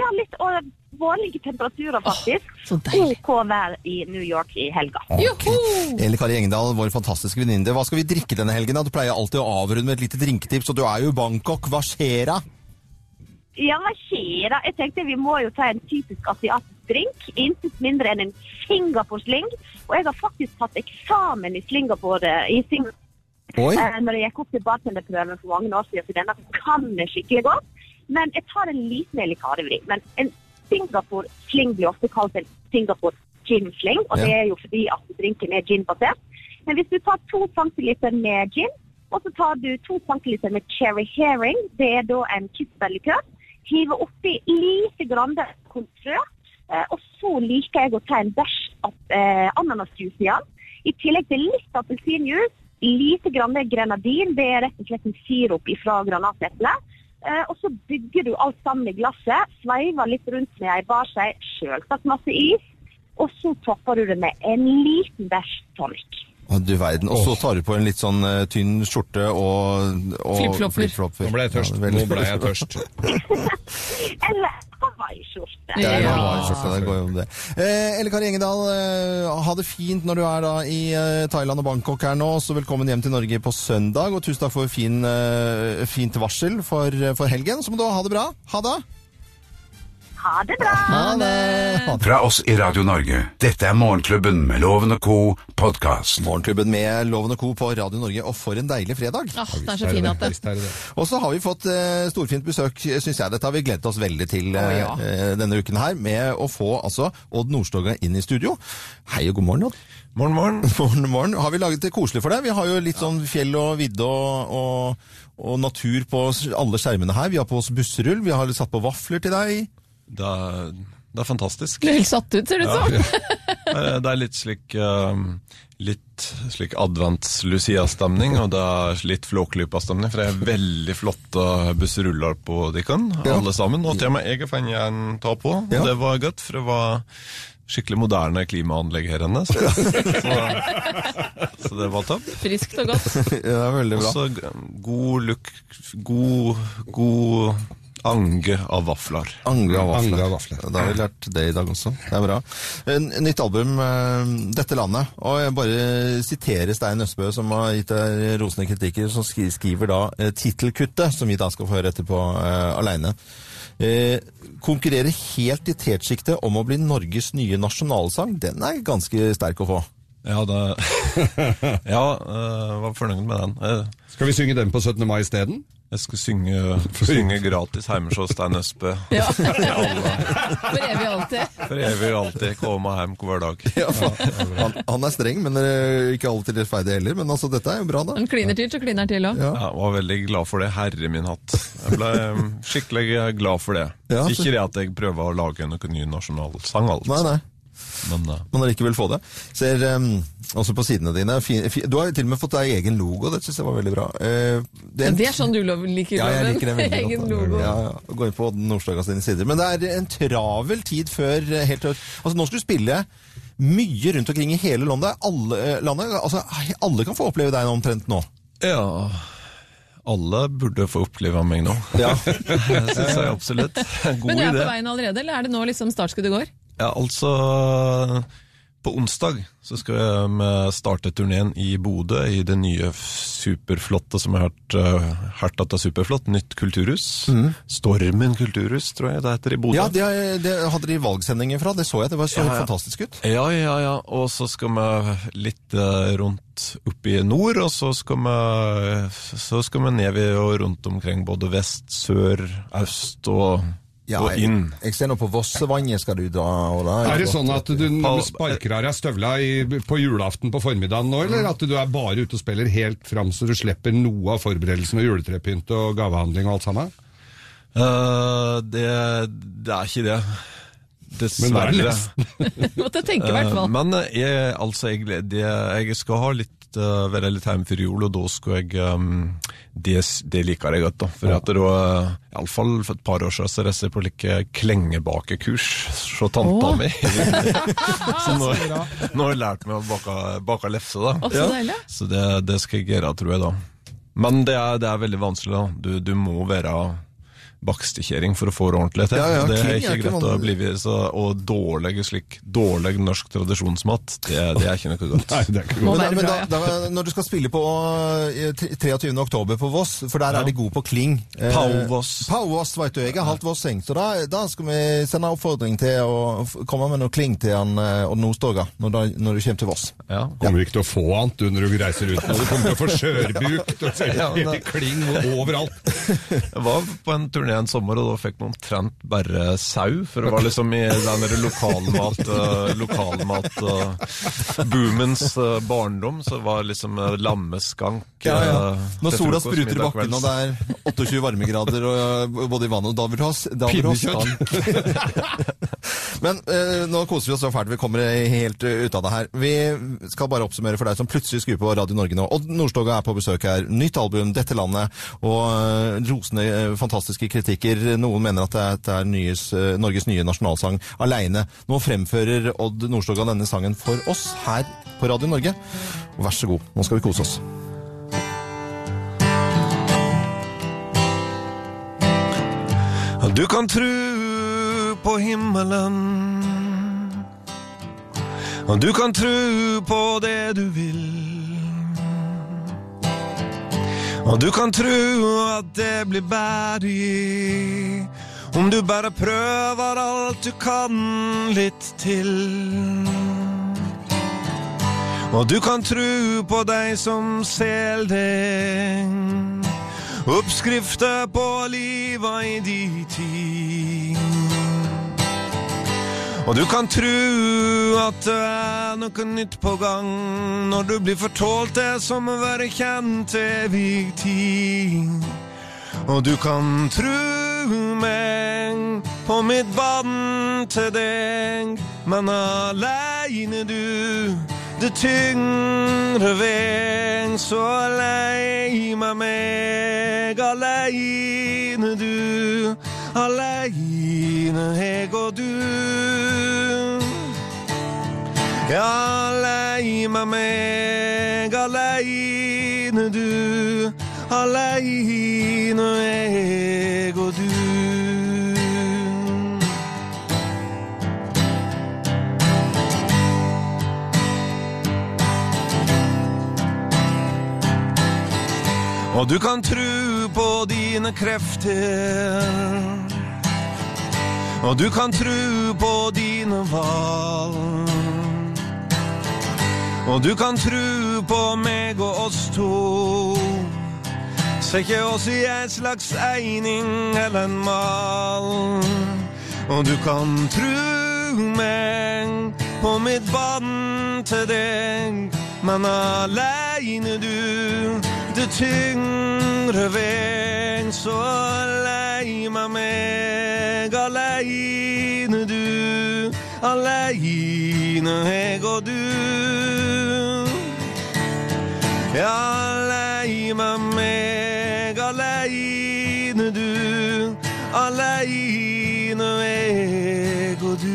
[SPEAKER 5] ja, litt eh, vårlige temperaturer, faktisk.
[SPEAKER 3] så deilig.
[SPEAKER 5] OK vær i New York i helga.
[SPEAKER 3] Joho!
[SPEAKER 2] Eller Kari Engdahl, vår fantastiske venninne. Hva skal vi drikke denne helgen? da? Du pleier alltid å avrunde med et lite drinketips, og du er jo i Bangkok. Hva skjer da?
[SPEAKER 5] Ja, hva skjer da? Jeg tenkte vi må jo ta en typisk asiatisk drink. Intet mindre enn en Singapore-sling. Og jeg har faktisk tatt eksamen i Singapore, eh, i Singapore
[SPEAKER 2] Oi.
[SPEAKER 5] eh, når jeg gikk opp til bartenderprøven for mange år siden, så denne kan jeg skikkelig godt. Men jeg tar en liten elikarevri. Men en Singapore-sling blir ofte kalt en Singapore-gin-sling, og det
[SPEAKER 2] Ja.
[SPEAKER 5] er jo fordi at drinken er gin-basert. Men hvis du tar to centiliter med gin, og så tar du to centiliter med cherry herring, det er da en kirsebærlikør, hiver oppi lite grann kontrø, eh, og så liker jeg å ta en bæsj av eh, ananasjuice i den. I tillegg til litt appelsinjuice, lite grann grenadin, det er rett og slett en sirup fra granateplene. Eh, og så bygger du alt sammen i glasset, sveiver litt rundt med ei barskei, selvsagt masse is, og så topper du det med en liten bæsj tonic.
[SPEAKER 2] Å, Du verden. Og så tar du på en litt sånn eh, tynn skjorte og, og
[SPEAKER 3] Flipflopper.
[SPEAKER 2] flipflopper.
[SPEAKER 4] Nå ble jeg tørst.
[SPEAKER 2] Ja, vel.
[SPEAKER 4] Nå ble jeg
[SPEAKER 2] *laughs*
[SPEAKER 4] tørst.
[SPEAKER 5] Eller hawaiiskjorte.
[SPEAKER 2] Det er
[SPEAKER 3] Ja.
[SPEAKER 2] bare en skjorte, det går jo om det. Eh, Elle Kari Engedal, eh, ha det fint når du er da i eh, Thailand og Bangkok her nå. Så velkommen hjem til Norge på søndag, og tusen takk for fin, eh, fint varsel for, for helgen. Så må du ha det bra. Ha det!
[SPEAKER 5] Ha det bra!
[SPEAKER 2] Ha det!
[SPEAKER 1] Fra oss i Radio Norge. Dette er Morgenklubben med Loven og co. podkast.
[SPEAKER 2] Morgenklubben med Loven og Co. på Radio Norge, og for en deilig fredag.
[SPEAKER 3] Ah, det er så fin at det
[SPEAKER 4] Visst er det det.
[SPEAKER 2] Og så har vi fått eh, storfint besøk, syns jeg. Dette har vi gledet oss veldig til
[SPEAKER 3] Å,
[SPEAKER 2] eh,
[SPEAKER 3] ja.
[SPEAKER 2] eh, denne uken her, med å få altså Odd Nordstoga inn i studio. Hei og god morgen, *laughs* Odd.
[SPEAKER 4] Morgen, morgen.
[SPEAKER 2] Morgen, morgen. Har vi laget det koselig for deg? Vi har jo litt sånn fjell og vidde og, og, og natur på s- alle skjermene her. Vi har på oss busserull, vi har satt på vafler til deg.
[SPEAKER 8] Det er, det er fantastisk.
[SPEAKER 3] Du er helt satt ut, ser det ut som.
[SPEAKER 8] Det er- det er litt slik, um, litt slik advents-Lucia-stemning, og det er litt flåklypa-stemning, for det er veldig flotte busseruller på dikken,
[SPEAKER 2] Ja.
[SPEAKER 8] alle sammen. Og til og med jeg fikk gjerne ta på, og
[SPEAKER 2] Ja.
[SPEAKER 8] det var godt, for det var skikkelig moderne klimaanlegg her inne. Så, så, så det var topp.
[SPEAKER 3] Friskt og godt.
[SPEAKER 2] Ja, det er veldig bra.
[SPEAKER 8] Også g- god look, god, god ange av vafler.
[SPEAKER 2] Angre av vafler.
[SPEAKER 4] Angre av vafler.
[SPEAKER 2] Da har vi lært det i dag også. Det er bra. En- Nytt album, eh, 'Dette landet'. Og jeg bare siterer Stein Østbø, som har gitt deg rosende kritikker, som skri- skriver da eh, tittelkuttet, som vi da skal få høre etterpå eh, aleine. Eh, konkurrere helt i tetsjiktet om å bli Norges nye nasjonalsang. Den er ganske sterk å få.
[SPEAKER 8] Ja, det, *laughs* ja eh, var fornøyd med den. Eh,
[SPEAKER 4] Skal vi synge den på 17. mai isteden?
[SPEAKER 8] Jeg skal synge, synge gratis hjemme hos Stein Østbø.
[SPEAKER 3] Ja. For evig og alltid.
[SPEAKER 8] For jeg vil alltid komme hjem hver dag.
[SPEAKER 2] han, han er streng, men eh, ikke alltid rettferdig heller. Men altså, dette er jo bra, da.
[SPEAKER 3] Han kliner til, så kliner han til òg.
[SPEAKER 8] Jeg var veldig glad for det. Herre min hatt. Jeg ble eh, skikkelig glad for det.
[SPEAKER 2] Ja, så-
[SPEAKER 8] Ikke det at jeg prøver å lage noen ny nasjonalsang, altså.
[SPEAKER 2] Nei, nei.
[SPEAKER 8] Men eh,
[SPEAKER 2] men allikevel få det. Ser ehm, også på sidene dine fi- fi- Du har jo til og med fått deg egen logo, det syns jeg var veldig bra. Eh, det
[SPEAKER 3] Det er sånn du lov- liker
[SPEAKER 2] ja, jeg
[SPEAKER 3] loven.
[SPEAKER 2] liker den veldig
[SPEAKER 3] *laughs*
[SPEAKER 2] godt.
[SPEAKER 3] Egen
[SPEAKER 2] da.
[SPEAKER 3] logo.
[SPEAKER 2] Ja, ja. Gå inn på Nordstoga sine sider. Men det er en travel tid før eh, helt til- Altså, nå skal du spille mye rundt omkring i hele landet. Alle, eh, landet. Altså, he- alle kan få oppleve deg nå omtrent nå.
[SPEAKER 8] ja eh, Alle burde få oppleve meg
[SPEAKER 2] *laughs*
[SPEAKER 8] nå.
[SPEAKER 2] Ja.
[SPEAKER 8] Det syns jeg absolutt.
[SPEAKER 3] Men
[SPEAKER 8] God
[SPEAKER 3] du er på
[SPEAKER 8] idé.
[SPEAKER 3] veien allerede, eller er det nå liksom startskuddet går? *laughs*
[SPEAKER 8] Ja, altså På onsdag så skal vi starte turneen i Bodø, i det nye superflotte som har hørt, eh, hørt at det er superflott, nytt kulturhus. Stormen kulturhus, tror jeg det heter i Bodø.
[SPEAKER 2] ja, det, er- det hadde de valgsendinger fra. Det så jeg. Det var så fantastisk ut.
[SPEAKER 8] Ja, ja, ja. Og så skal vi litt eh, rundt opp i nord, og så skal vi, så skal vi ned i og rundt omkring både vest, sør, øst og, og inn.
[SPEAKER 2] jeg, jeg ser nå på Vossevannet skal du dra. Og da,
[SPEAKER 4] Er det sånn at du
[SPEAKER 8] Pal-
[SPEAKER 4] sparker av deg støvla i, på julaften på formiddagen nå, eller at du er bare ute og spiller helt fram så du slipper noe av forberedelsen og juletrepynt og gavehandling og alt sammen?
[SPEAKER 8] Eh, det, det er ikke det.
[SPEAKER 4] Men det er
[SPEAKER 9] Dessverre.
[SPEAKER 4] nesten.
[SPEAKER 3] Måtte jeg tenke i hvert
[SPEAKER 9] Eh,
[SPEAKER 2] Uh,
[SPEAKER 3] fall.
[SPEAKER 9] Men eh, jeg, altså, jeg, gled- jeg, jeg skal ha litt, eh, være litt hjemme før jul, og da skal jeg ehm, det, s- det liker jeg godt, da. eh, For at da, iallfall for et par år siden, så reiste jeg på like klengebakekurs hos tanta
[SPEAKER 3] Åh. *laughs*
[SPEAKER 9] mi. så nå, nå har jeg lært meg å bake, bake lefse, da.
[SPEAKER 3] Å, så deilig.
[SPEAKER 9] Så det, det skal jeg gjøre, tror jeg, da. Men det er, det er veldig vanskelig, da. Du, du må være bakstikkjering for å få det ordentlig til.
[SPEAKER 2] Ja, ja,
[SPEAKER 9] det er
[SPEAKER 2] kling
[SPEAKER 9] ikke
[SPEAKER 2] er ikke
[SPEAKER 9] greit å
[SPEAKER 2] vanlig.
[SPEAKER 9] bli ved, så, og dårlig, slik, dårlig norsk tradisjonsmat, det, det er ikke noe godt.
[SPEAKER 2] *laughs*
[SPEAKER 4] Nei, det er ikke
[SPEAKER 3] Må
[SPEAKER 4] godt.
[SPEAKER 2] Men,
[SPEAKER 3] være
[SPEAKER 2] men
[SPEAKER 3] bra,
[SPEAKER 2] da,
[SPEAKER 3] ja.
[SPEAKER 2] da, når du skal spille på eh, tre- 23. oktober på Voss, for der er de gode på kling. Eh,
[SPEAKER 9] Pauvoss.
[SPEAKER 2] Pauvoss, vet du. Jeg har halvt Vossing, så da, da skal vi sende en oppfordring til å f- komme med noe kling til han eh, Odd Nordstoga når, da- når du kommer til Voss.
[SPEAKER 9] Ja.
[SPEAKER 4] Kommer ikke til å få annet under du reiser ut nå. Du kommer til å få skjørbuk og så er det helt i kling overalt.
[SPEAKER 9] Jeg var på en turné en sommer, og da fikk man omtrent bare sau. For det var liksom i den der lokalmat, eh, lokalmat eh, boomens eh, barndom, så var liksom eh, lammeskank eh,
[SPEAKER 2] Når
[SPEAKER 9] til
[SPEAKER 2] sola
[SPEAKER 9] frokost,
[SPEAKER 2] spruter i
[SPEAKER 9] middag,
[SPEAKER 2] bakken,
[SPEAKER 9] kvelds.
[SPEAKER 2] og det er 28 varmegrader og, eh, både i vannet, da vil du ha, s- da vil du ha stank. *laughs* Men eh, nå koser vi oss så fælt. Vi kommer eh, helt eh, ut av det her. Vi skal bare oppsummere for deg som plutselig skrur på Radio Norge nå. Odd Nordstoga er på besøk her. Nytt album, Dette landet, og eh, rosende eh, fantastiske kritikker. Noen mener at det er, det er nyes, eh, Norges nye nasjonalsang aleine. Nå fremfører Odd Nordstoga denne sangen for oss her på Radio Norge. Og vær så god, nå skal vi kose oss.
[SPEAKER 9] Du kan tru på himmelen Og du kan tru på det du vil Og du kan tru at det blir bære i Om du bare prøver alt du kan litt til Og du kan tru på deg som sel deg Oppskrifter på liva i di tid og du kan tru at det er noe nytt på gang når du blir fortalt det som å være kjent til evig tid. Og du kan tru meg på mitt vann til deg, men aleine du det tyngre veg, så lei meg meg aleine du, aleine jeg og du. Ja, lei meg meg aleine du, aleine jeg og du. Og du kan tru på dine krefter. Og du kan tru på dine valg. Og du kan tru på meg og oss to. Sekke oss i en slags eining eller en mal. Og du kan tru meg på mitt bånd til deg. Men aleine du, det tyngre veg, så lei meg meg aleine du, aleine jeg og du. Aleine meg, aleine du, aleine jeg og du.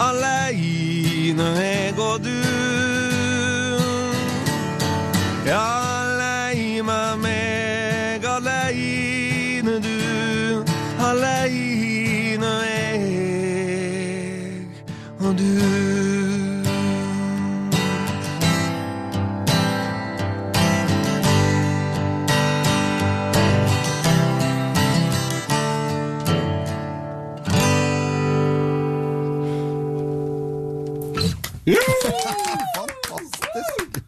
[SPEAKER 9] Aleine Aleine jeg og du ja, lei meg meg aleine du, aleine jeg og du.
[SPEAKER 2] Fantastisk!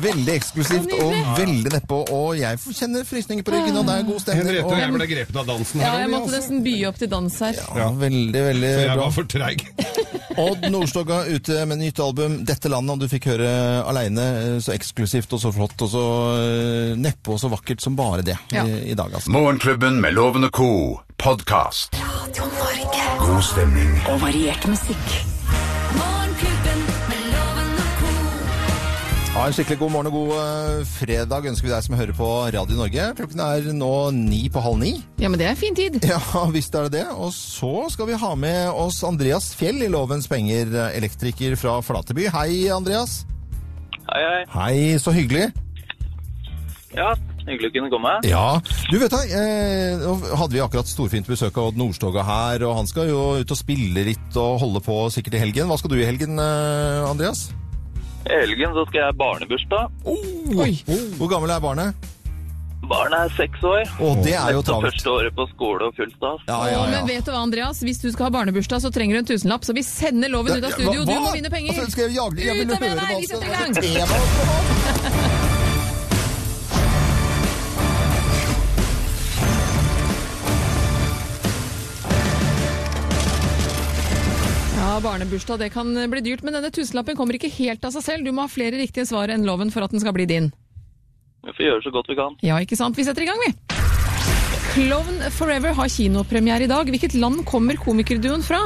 [SPEAKER 2] Veldig eksklusivt og veldig nedpå. Og jeg får kjenne frysninger på ryggen, og det er god stemning.
[SPEAKER 4] Henriette og jeg ble grepet av dansen
[SPEAKER 3] Ja,
[SPEAKER 4] her.
[SPEAKER 3] jeg måtte nesten by opp til dans her.
[SPEAKER 2] ja, veldig, veldig
[SPEAKER 4] Jeg
[SPEAKER 2] bra.
[SPEAKER 4] var for treig.
[SPEAKER 2] Odd Nordstoga ute med nytt album 'Dette landet', og du fikk høre aleine. Så eksklusivt og så flott og så eh, nedpå og så vakkert som bare det
[SPEAKER 3] Ja.
[SPEAKER 2] i, i dag, altså.
[SPEAKER 1] Morgenklubben med Loven og Co. Podcast.
[SPEAKER 10] Radio Norge.
[SPEAKER 1] God stemning
[SPEAKER 10] Og variert musikk. Morgenklubben med loven og ko.
[SPEAKER 2] Ha en skikkelig god morgen og god eh, fredag ønsker vi deg som hører på Radio Norge. Klokken er nå ni på halv ni.
[SPEAKER 3] Ja, men det er fin tid.
[SPEAKER 2] *laughs* Ja, visst er det det. Og så skal vi ha med oss Andreas Fjell i Lovens penger, eh, elektriker fra Flateby. Hei, Andreas.
[SPEAKER 8] Hei, hei.
[SPEAKER 2] Hei, så hyggelig.
[SPEAKER 8] Ja, hyggelig å kunne komme.
[SPEAKER 2] Ja, du vet da, eh, nå hadde vi akkurat storfint besøk av Odd Nordstoga her, og han skal jo ut og spille litt og holde på sikkert i helgen. Hva skal du i helgen, eh, Andreas?
[SPEAKER 8] I helgen så skal jeg ha barnebursdag.
[SPEAKER 3] Oi.
[SPEAKER 2] Hvor gammel er barnet?
[SPEAKER 8] Barnet er seks år.
[SPEAKER 2] Å, det er jo
[SPEAKER 8] Dette
[SPEAKER 2] travelt.
[SPEAKER 8] Første året på skole og full stas.
[SPEAKER 2] Ja,
[SPEAKER 3] Å, Men vet du hva, Andreas? Hvis du skal ha barnebursdag, så trenger du en tusenlapp. Så vi sender loven ut av studio. Du
[SPEAKER 2] Hva-
[SPEAKER 3] må vinne penger.
[SPEAKER 2] Altså, skal jeg jage, jeg
[SPEAKER 3] Ut
[SPEAKER 2] vil
[SPEAKER 3] av med
[SPEAKER 2] høre
[SPEAKER 3] deg,
[SPEAKER 2] hva
[SPEAKER 3] vi
[SPEAKER 2] som-
[SPEAKER 3] setter i gang.
[SPEAKER 2] Tre valg.
[SPEAKER 3] Ja, barnebursdag det kan bli dyrt, men denne tusenlappen kommer ikke helt av seg selv. Du må ha flere riktige svar enn loven for at den skal bli din.
[SPEAKER 8] Vi får gjøre så godt vi kan.
[SPEAKER 3] Ja, ikke sant? Vi setter i gang, vi. Klovn Forever har kinopremiere i dag. Hvilket land kommer komikerduoen fra?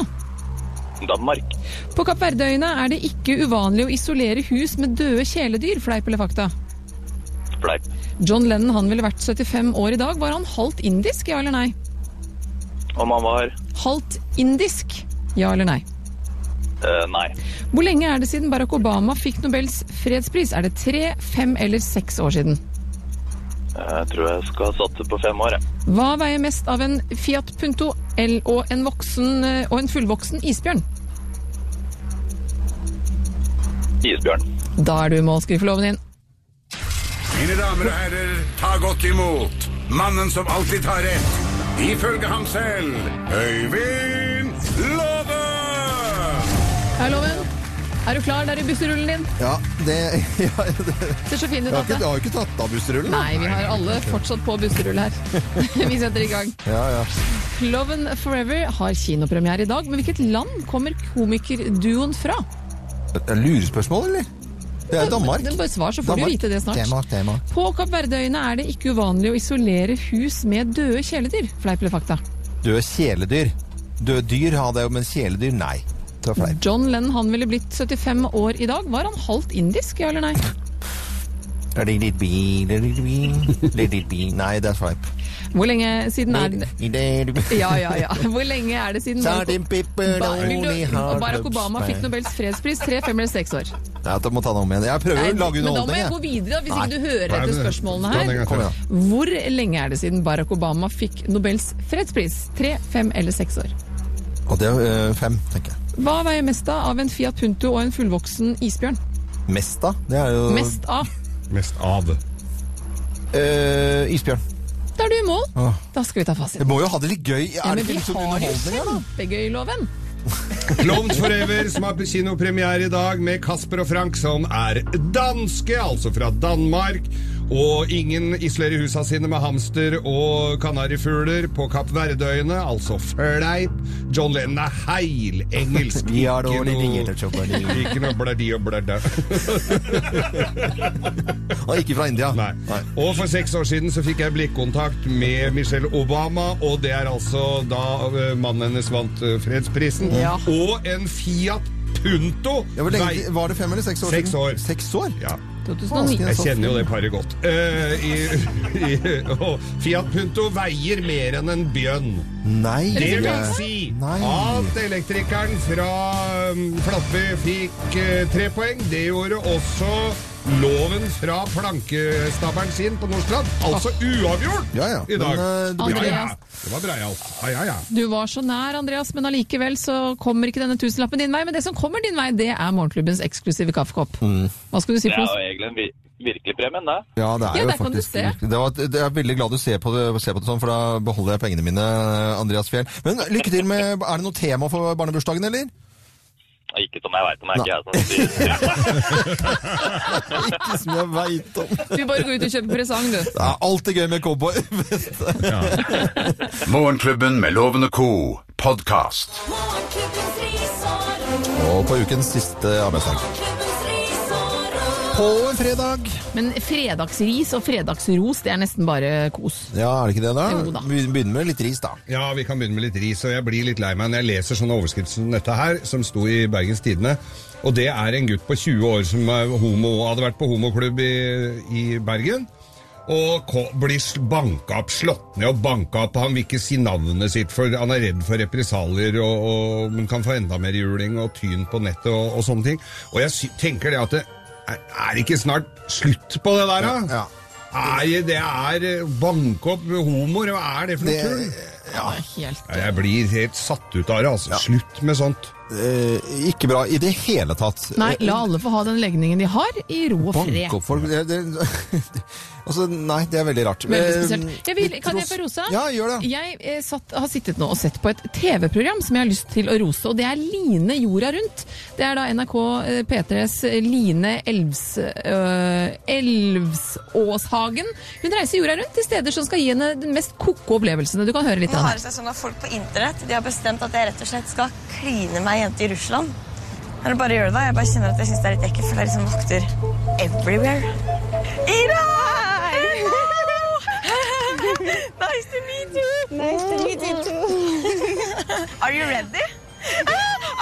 [SPEAKER 8] Danmark.
[SPEAKER 3] På Kapp Verdeøyene er det ikke uvanlig å isolere hus med døde kjæledyr, fleip eller fakta.
[SPEAKER 8] Fleip.
[SPEAKER 3] John Lennon han ville vært 75 år i dag. Var han halvt indisk, ja eller nei?
[SPEAKER 8] Om han var
[SPEAKER 3] Halvt indisk, ja eller nei?
[SPEAKER 8] eh, Nei.
[SPEAKER 3] Hvor lenge er det siden Barack Obama fikk Nobels fredspris? Er det tre, fem eller seks år siden?
[SPEAKER 8] Eh, Jeg tror jeg skal satse på fem år, jeg.
[SPEAKER 3] Hva veier mest av en Fiat Punto L og en, voksen, eh, og en fullvoksen isbjørn?
[SPEAKER 8] Isbjørn.
[SPEAKER 3] Da er du i mål, skriv for loven din.
[SPEAKER 1] Mine damer og herrer, ta godt imot mannen som alltid tar rett. Ifølge ham selv Øyvind Låve!
[SPEAKER 3] Er loven? Er du klar der i busserullen din?
[SPEAKER 2] Ja, det, *laughs* ja, det
[SPEAKER 3] Ser så fin ut,
[SPEAKER 2] jeg, har ikke, jeg
[SPEAKER 3] Atte.
[SPEAKER 2] har ikke tatt av busserullen. da.
[SPEAKER 3] Nei, vi har alle fortsatt på busserull her. *laughs* vi setter i gang.
[SPEAKER 2] Ja, ja.
[SPEAKER 3] Loven Forever har kinopremiere i dag, men hvilket land kommer komikerduoen fra?
[SPEAKER 2] Det er Lurespørsmål, eller? Det er Danmark.
[SPEAKER 3] Det er Bare svar, så får
[SPEAKER 2] Danmark.
[SPEAKER 3] du vite det snart.
[SPEAKER 2] Danmark, Danmark.
[SPEAKER 3] På Kapp Verdeøyene er det ikke uvanlig å isolere hus med døde kjæledyr. Fleip eller fakta?
[SPEAKER 2] Døde kjæledyr. Døde dyr hadde jeg jo, men kjæledyr, nei. Det var fleip.
[SPEAKER 3] John Lennon han ville blitt 75 år i dag. Var han halvt indisk, ja eller nei? Mm.
[SPEAKER 2] Let it be, let it
[SPEAKER 3] *laughs*
[SPEAKER 2] be, let it be. Nei, det er fleip.
[SPEAKER 3] Hvor lenge siden er det
[SPEAKER 2] Sardin
[SPEAKER 3] Ja, ja, *laughs* ja. Hvor lenge er det siden
[SPEAKER 2] pepperoni
[SPEAKER 3] Vil du-
[SPEAKER 2] har
[SPEAKER 3] og Barack Obama
[SPEAKER 2] løpt
[SPEAKER 3] fikk
[SPEAKER 2] meg.
[SPEAKER 3] Nobels fredspris tre, fem eller seks år.
[SPEAKER 2] Ja, Jeg må ta den om igjen. Jeg prøver å
[SPEAKER 3] men
[SPEAKER 2] lage
[SPEAKER 3] da må jeg gå
[SPEAKER 2] underholdning. jeg.
[SPEAKER 3] videre, da, hvis
[SPEAKER 2] Nei.
[SPEAKER 3] ikke du hører
[SPEAKER 4] Nei,
[SPEAKER 3] etter
[SPEAKER 4] men-
[SPEAKER 3] spørsmålene
[SPEAKER 4] ta den en
[SPEAKER 3] her.
[SPEAKER 4] gang til.
[SPEAKER 2] Kom igjen.
[SPEAKER 3] Hvor lenge er det siden Barack Obama fikk Nobels fredspris? Tre, fem eller seks år.
[SPEAKER 2] Og det er øh, fem, tenker jeg.
[SPEAKER 3] Hva veier mest av av en Fiat Punto og en fullvoksen isbjørn?
[SPEAKER 2] Mest, da? Det er jo
[SPEAKER 3] Mest av.
[SPEAKER 4] Mest av.
[SPEAKER 2] Øh, isbjørn.
[SPEAKER 3] Da er du i mål.
[SPEAKER 2] Åh.
[SPEAKER 3] Da skal vi ta fasiten.
[SPEAKER 2] Jeg må jo ha Ah. det litt gøy. Er
[SPEAKER 3] Ja,
[SPEAKER 2] det
[SPEAKER 3] men
[SPEAKER 2] ikke
[SPEAKER 3] vi
[SPEAKER 2] litt sånn
[SPEAKER 3] har jo
[SPEAKER 2] underholdning, da?
[SPEAKER 3] kjempegøy-loven.
[SPEAKER 4] Klovns Forever, som har kinopremiere i dag med Kasper og Frank, som er danske, altså fra Danmark. Og ingen isolerer husa sine med hamster og kanarifugler på Kapp Verdøyene, altså fleip. John Lennon er
[SPEAKER 2] *laughs*
[SPEAKER 4] heilengelsk.
[SPEAKER 2] Ja, da,
[SPEAKER 4] Ikke
[SPEAKER 2] det
[SPEAKER 4] noe-
[SPEAKER 2] ligger det,
[SPEAKER 4] *laughs*
[SPEAKER 2] Chopper.
[SPEAKER 4] Ikke noe blædi og blædda.
[SPEAKER 2] Og ikke fra India.
[SPEAKER 4] Nei. Og for seks år siden så fikk jeg blikkontakt med Michelle Obama, og det er altså da eh, mannen hennes vant eh, fredsprisen.
[SPEAKER 3] Ja.
[SPEAKER 4] Og en Fiat Punto!
[SPEAKER 2] Ja, hvor
[SPEAKER 4] Nei.
[SPEAKER 2] lenge, var det fem eller seks år
[SPEAKER 4] Seks
[SPEAKER 2] siden?
[SPEAKER 4] år.
[SPEAKER 2] Seks år?
[SPEAKER 4] Ja.
[SPEAKER 3] 2009.
[SPEAKER 4] Jeg kjenner
[SPEAKER 2] sånn.
[SPEAKER 4] jo det paret godt. Eh, i, i, og Fiat Punto veier mer enn en bjønn.
[SPEAKER 2] Nei.
[SPEAKER 4] Det vil
[SPEAKER 2] jeg-
[SPEAKER 4] si
[SPEAKER 2] Nei.
[SPEAKER 4] at elektrikeren fra um, Flatby fikk eh, tre poeng. Det gjorde også loven fra plankestabelen sin på Nordstrand. Altså uavgjort
[SPEAKER 2] Ja, ja.
[SPEAKER 4] i dag.
[SPEAKER 2] Men, eh,
[SPEAKER 3] det blir-
[SPEAKER 4] ja, ja. Det var breialt. Ja, ja, ja.
[SPEAKER 3] Du var så nær, Andreas, men allikevel så kommer ikke denne tusenlappen din vei. Men det som kommer din vei, det er morgenklubbens eksklusive kaffekopp.
[SPEAKER 2] Mm.
[SPEAKER 3] Hva skal du si
[SPEAKER 8] Det
[SPEAKER 3] for
[SPEAKER 8] er
[SPEAKER 3] oss?
[SPEAKER 8] jo egentlig en vir virkelig premien, det.
[SPEAKER 2] Ja, det er
[SPEAKER 3] Ja,
[SPEAKER 2] jo
[SPEAKER 3] der kan du
[SPEAKER 2] faktisk
[SPEAKER 3] se.
[SPEAKER 2] det var, det er veldig glad du ser på, det, ser på det sånn, for da beholder jeg pengene mine, Andreas Fjell. Men lykke til med Er det noe tema for barnebursdagen, eller?
[SPEAKER 8] Ikke som jeg veit om, det er ikke jeg som styrer.
[SPEAKER 2] Ikke som jeg veit om.
[SPEAKER 3] Du bare går ut og kjøper presang, du.
[SPEAKER 2] Det er alltid gøy med cowboyvest.
[SPEAKER 1] Morgenklubben med Loven og co. podkast.
[SPEAKER 10] Morgenklubbens ris og ros.
[SPEAKER 2] *laughs* Og på ukens siste arbeidsdag.
[SPEAKER 10] Morgenklubbens ris og ros.
[SPEAKER 2] På en fredag.
[SPEAKER 3] Men fredagsris og fredagsros, det er nesten bare kos.
[SPEAKER 2] Ja, er det ikke det, da?
[SPEAKER 3] Jo da.
[SPEAKER 2] Vi begynner med litt ris, da.
[SPEAKER 4] Ja, vi kan begynne med litt ris, og jeg blir litt lei meg når jeg leser sånne overskrifter som dette her, som sto i Bergens Tidende. Og det er en gutt på 20 år som er homo, hadde vært på homoklubb i, i Bergen. Og ko- blir sl- banka opp, slått ned og banka opp. Han vil ikke si navnet sitt, for han er redd for represalier, og, og, men kan få enda mer juling og tyn på nettet og, og sånne ting. Og jeg sy tenker det at det er, er ikke snart slutt på det der, da?
[SPEAKER 2] Ja, ja.
[SPEAKER 4] Er, det er eh, banke opp homoer, hva er det for noe
[SPEAKER 2] Det-
[SPEAKER 4] tull?
[SPEAKER 3] Ja. Helt.
[SPEAKER 4] Ja, Jeg blir helt satt ut av det, altså. Slutt med sånt.
[SPEAKER 2] Eh, ikke bra i det hele tatt.
[SPEAKER 3] Nei,
[SPEAKER 2] Eh,
[SPEAKER 3] la alle få ha den legningen de har, i ro og fred.
[SPEAKER 2] Banke opp folk det, det, *laughs* Altså, nei, det er veldig rart.
[SPEAKER 3] Veldig
[SPEAKER 2] Eh,
[SPEAKER 3] spesielt. Jeg vil,
[SPEAKER 2] litt
[SPEAKER 3] kan jeg
[SPEAKER 2] ros-
[SPEAKER 3] få rose?
[SPEAKER 2] Ja, gjør det.
[SPEAKER 3] Jeg eh, satt, har sittet nå og sett på et TV-program som jeg har lyst til å rose, og det er Line jorda rundt. Det er da NRK eh, P3s Line Elvs, øh, Elvsåshagen. Hun reiser jorda rundt til steder som skal gi henne den mest koko opplevelsene. Du kan høre litt
[SPEAKER 11] Nå
[SPEAKER 3] av
[SPEAKER 11] har
[SPEAKER 3] henne.
[SPEAKER 11] det seg sånn at folk på internett de har bestemt at jeg rett og slett skal kline meg jente i Russland. Eller bare gjør det, da. Jeg bare kjenner at jeg syns det er litt ekkelt, for det er liksom vakter everywhere. Ida! *laughs* nice to meet you! Nice to meet you too. Are you ready?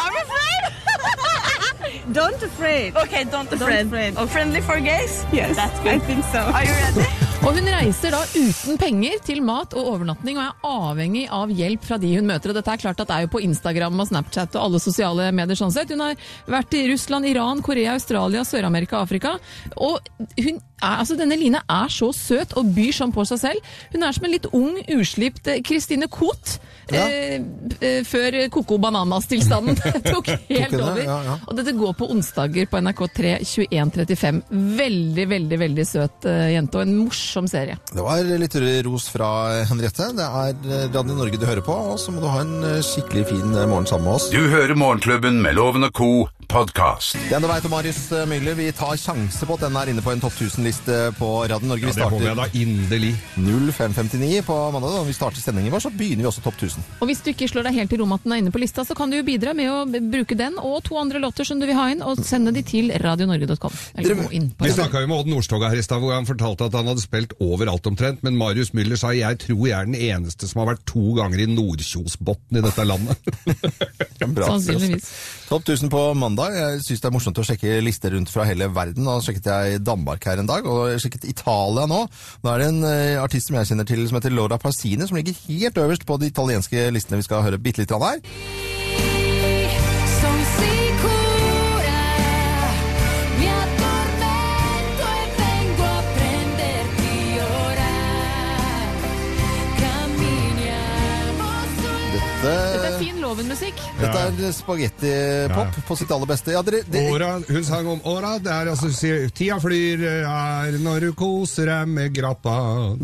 [SPEAKER 11] I'm afraid! don't afraid. Okay, don't afraid. Friendly for gays? Yes, That's good. I think so. Are you ready?
[SPEAKER 3] Og hun reiser da uten penger til mat og overnatting, og er avhengig av hjelp fra de hun møter. Og dette er klart at det er jo på Instagram og Snapchat og alle sosiale medier sånn sett. Hun har vært i Russland, Iran, Korea, Australia, Sør-Amerika, Afrika. Og hun er, altså denne Line er så søt og byr sånn på seg selv. Hun er som en litt ung, uslipt eh, Christine Koht.
[SPEAKER 2] Ja.
[SPEAKER 3] Eh, eh, før Coco Bananas-tilstanden *laughs* tok helt
[SPEAKER 2] henne,
[SPEAKER 3] over.
[SPEAKER 2] ja, ja.
[SPEAKER 3] Og dette går på onsdager på NRK3 21.35. Veldig, veldig veldig søt eh, jente, og en morsom serie.
[SPEAKER 2] Det var litt ros fra Henriette. Det er eh, Radio Norge du hører på, og så må du ha en eh, skikkelig fin eh, morgen sammen med oss.
[SPEAKER 1] Du hører Morgenklubben med Loven og co. podkast.
[SPEAKER 2] Den du veit om Marius eh, Myhre, vi tar sjanse på at den er inne på en topp 1000-liste på Radio Norge.
[SPEAKER 4] Ja,
[SPEAKER 2] Vi
[SPEAKER 4] det håper jeg
[SPEAKER 2] starter
[SPEAKER 4] da inderlig.
[SPEAKER 2] 0559 på mandag, og når vi starter sendingen vår, så begynner vi også topp 1000.
[SPEAKER 3] Og hvis du ikke slår deg helt til ro med at den er inne på lista, så kan du jo bidra med å b- bruke den og to andre låter som du vil ha inn, og sende de til radionorge.com. Eller gå inn på
[SPEAKER 4] Vi
[SPEAKER 3] radio.
[SPEAKER 4] snakka jo med Odd Nordstoga her i stad, hvor han fortalte at han hadde spilt overalt omtrent, men Marius Müller sa 'jeg tror jeg er den eneste som har vært to ganger i Nordkjosbotn i dette landet'.
[SPEAKER 2] Bra.
[SPEAKER 3] Sannsynligvis.
[SPEAKER 2] Topp 1000 på mandag. Jeg syns det er morsomt å sjekke lister rundt fra hele verden. Da sjekket jeg Danmark her en dag, og jeg sjekket Italia nå. Da er det en eh, artist som jeg kjenner til som heter Laura Parsini, som ligger helt øverst på de italienske listene vi skal høre bitte litt av her.
[SPEAKER 10] Som si cura, mi addormento e vengo a prenderti ora. Camminiamo sul
[SPEAKER 2] Dette,
[SPEAKER 3] Dette er fin Loven-musikk.
[SPEAKER 2] dette er spagettipop på sitt aller beste. Ja, dere, *laughs* det,
[SPEAKER 4] Åra, hun sang om åra, det er altså sier, 'tida flyr her når du koser deg med grappa'.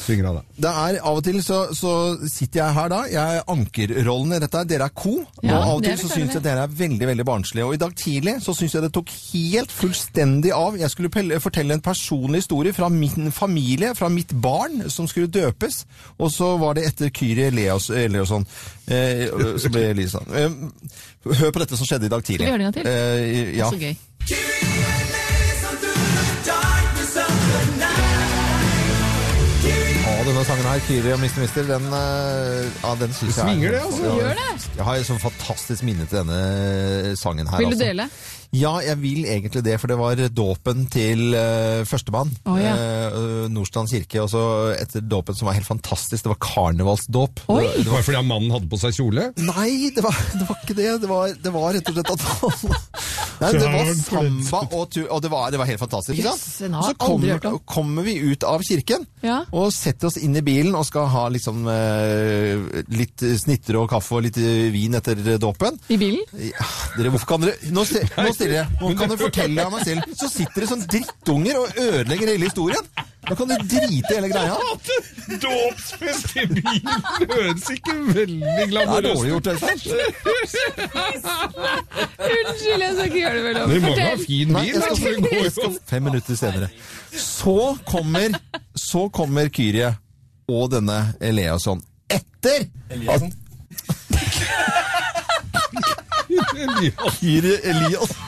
[SPEAKER 4] Synger han da.
[SPEAKER 2] det er Av og til så, så sitter jeg her da, jeg er ankerrollen i dette. her. Dere er co.
[SPEAKER 3] Ja,
[SPEAKER 2] og av og
[SPEAKER 3] det er
[SPEAKER 2] til så
[SPEAKER 3] vi ferdig
[SPEAKER 2] syns jeg
[SPEAKER 3] med.
[SPEAKER 2] dere er veldig veldig barnslige. Og i dag tidlig så syns jeg det tok helt fullstendig av. Jeg skulle pelle, fortelle en personlig historie fra min familie, fra mitt barn, som skulle døpes. Og så var det etter Kyrie Leos, Leosson. Eh, så ble Elisa eh, Hør på dette som skjedde i dag tidlig.
[SPEAKER 3] Skal vi høre det en gang til?
[SPEAKER 2] Eh, ja.
[SPEAKER 3] Så gøy.
[SPEAKER 2] Å, denne sangen her, Kyrie og Mister Mister, den, eh, ja, den syns jeg er-
[SPEAKER 4] Svinger det, altså.
[SPEAKER 2] Ja,
[SPEAKER 3] Gjør det.
[SPEAKER 2] Jeg har et sånn fantastisk minne til denne sangen her.
[SPEAKER 3] Vil du
[SPEAKER 2] altså.
[SPEAKER 3] dele?
[SPEAKER 2] Ja, jeg vil egentlig det, for det var dåpen til eh, førstemann.
[SPEAKER 3] Å, ja.
[SPEAKER 2] eh, eh, Nordstrand kirke, og så etter dåpen som var helt fantastisk. Det var karnevalsdåp.
[SPEAKER 3] Oi!
[SPEAKER 2] Det var-
[SPEAKER 4] Var det fordi han mannen hadde på seg kjole?
[SPEAKER 2] Nei, det var, det var ikke det. Det var, det var rett og slett at alle Nei, Det var samba og tu... Og det var, det var helt fantastisk. ikke sant?
[SPEAKER 3] Jøss, den har
[SPEAKER 2] Så
[SPEAKER 3] jeg aldri hørt
[SPEAKER 2] kommer,
[SPEAKER 3] om.
[SPEAKER 2] kommer vi ut av kirken
[SPEAKER 3] Ja.
[SPEAKER 2] og setter oss inn i bilen og skal ha liksom eh, litt snitter og kaffe og litt eh, vin etter dåpen.
[SPEAKER 3] I bilen?
[SPEAKER 2] Ja, dere, hvorfor kan dere Nå, ste- nå stiller jeg. Nå kan dere fortelle av meg selv. Så sitter det sånn drittunger og ødelegger hele historien. Da kan du drite i hele greia.
[SPEAKER 4] Dåpsfest i bilen høres ikke veldig glamorøst ut.
[SPEAKER 2] Det er dårlig gjort,
[SPEAKER 3] Unnskyld, jeg skal ikke gjøre det vel
[SPEAKER 4] Men vi må jo ha fin
[SPEAKER 2] Nei,
[SPEAKER 4] bil, da.
[SPEAKER 2] jeg *laughs* skal,
[SPEAKER 4] så det går
[SPEAKER 2] jeg
[SPEAKER 4] jo.
[SPEAKER 2] skal fem minutter senere. Så kommer, så kommer Kyrie og denne Eliasson etter Eliasson. Kyrie Elias.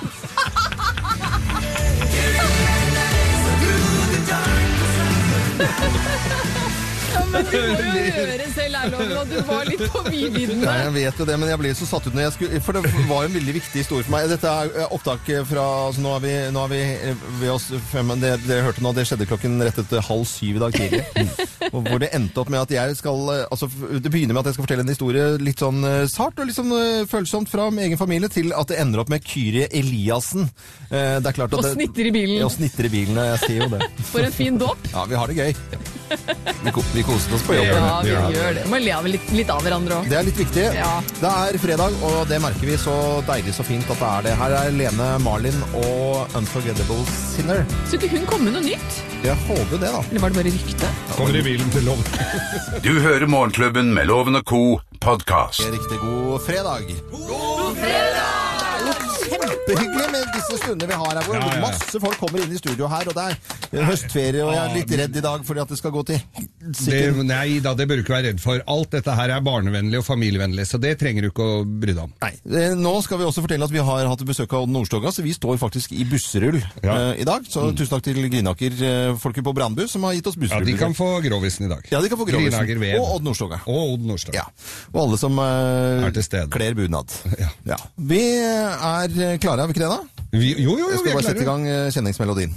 [SPEAKER 3] Ja, men du må jo høre selv, Erloven, at du var litt på vidvidden
[SPEAKER 2] Nei,
[SPEAKER 3] der.
[SPEAKER 2] jeg vet jo det, men jeg ble så satt ut når jeg skulle For det var jo en veldig viktig historie for meg. Dette er eh, opptaket fra altså Nå er vi, nå er vi eh, ved oss fem men det, Dere hørte nå, det skjedde klokken rett etter halv syv i dag
[SPEAKER 3] *laughs*
[SPEAKER 2] tidlig. Og Hvor det endte opp med at jeg skal eh, Altså, f- det begynner med at jeg skal fortelle en historie litt sånn eh, sart og litt sånn eh, følsomt fra min egen familie, til at det ender opp med Kyrie Eliassen. Eh, Det er klart at
[SPEAKER 3] Og
[SPEAKER 2] det-
[SPEAKER 3] snitter i bilen.
[SPEAKER 2] Ja, altså. Og snitter i bilen, ja, jeg sier jo det.
[SPEAKER 3] For en fin dåp.
[SPEAKER 2] Ja, vi har det gøy. Vi, ko vi koste oss på jobb.
[SPEAKER 3] Ja, vi gjør det. Må le av litt, litt av hverandre òg.
[SPEAKER 2] Det er litt viktig.
[SPEAKER 3] Ja.
[SPEAKER 2] Det er fredag, og det merker vi så deilig så fint at det er det. Her er Lene Marlin og Unforgettable Sinner.
[SPEAKER 3] Så ikke hun komme med noe nytt?
[SPEAKER 2] Jeg håper det, da.
[SPEAKER 3] Eller var det bare rykte?
[SPEAKER 4] Kommer i bilen til Loven.
[SPEAKER 1] Du hører Morgenklubben med Loven og Co. podkast.
[SPEAKER 2] Riktig god fredag. Kjempehyggelig med disse stundene vi har her hvor
[SPEAKER 4] Ja, ja, ja.
[SPEAKER 2] masse folk kommer inn i studio her, og det er høstferie, og jeg er litt redd i dag fordi at det skal gå til
[SPEAKER 4] Ah, Det,
[SPEAKER 2] helsike.
[SPEAKER 4] nei da, det bør du ikke være redd for. Alt dette her er barnevennlig og familievennlig, så det trenger du ikke å bry deg om.
[SPEAKER 2] Nei, eh, Nå skal vi også fortelle at vi har hatt besøk av Odd Nordstoga, så vi står faktisk i busserull
[SPEAKER 4] Ja. Mm.
[SPEAKER 2] eh, i dag. Så tusen takk til Grinaker, eh, folket på Brandbu, som har gitt oss
[SPEAKER 4] Ja,
[SPEAKER 2] busserull.
[SPEAKER 4] De kan få Grovisen i dag.
[SPEAKER 2] Ja, de kan få Grovisen.
[SPEAKER 4] Grinager Ween.
[SPEAKER 2] Og Odd Nordstoga.
[SPEAKER 4] Og Odd Nordstoga.
[SPEAKER 2] Ja. Og alle som eh,
[SPEAKER 4] Er til stede.
[SPEAKER 2] kler bunad.
[SPEAKER 4] *laughs* Ja.
[SPEAKER 2] Ja. Vi er eh, klare, er vi ikke det, da?
[SPEAKER 4] Vi, jo, jo, jo, vi
[SPEAKER 2] Jeg skal
[SPEAKER 4] er
[SPEAKER 2] bare sette i
[SPEAKER 4] klare.
[SPEAKER 2] gang eh, kjenningsmelodien.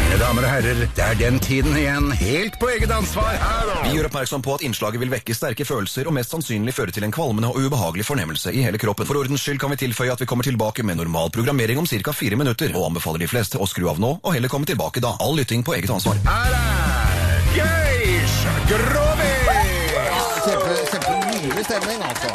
[SPEAKER 1] Mine damer og herrer, det er den tiden igjen, helt på eget ansvar her
[SPEAKER 6] Vi
[SPEAKER 1] og
[SPEAKER 6] gjør oppmerksom på at innslaget vil vekke sterke følelser og mest sannsynlig føre til en kvalmende og ubehagelig fornemmelse i hele kroppen. For ordens skyld kan vi tilføye at vi kommer tilbake med normal programmering om ca. fire minutter, og anbefaler de fleste å skru av nå og heller komme tilbake da. All lytting på eget ansvar.
[SPEAKER 1] Her er Geisha Grovis!
[SPEAKER 2] Kjempe, Kjempemye stemning, altså.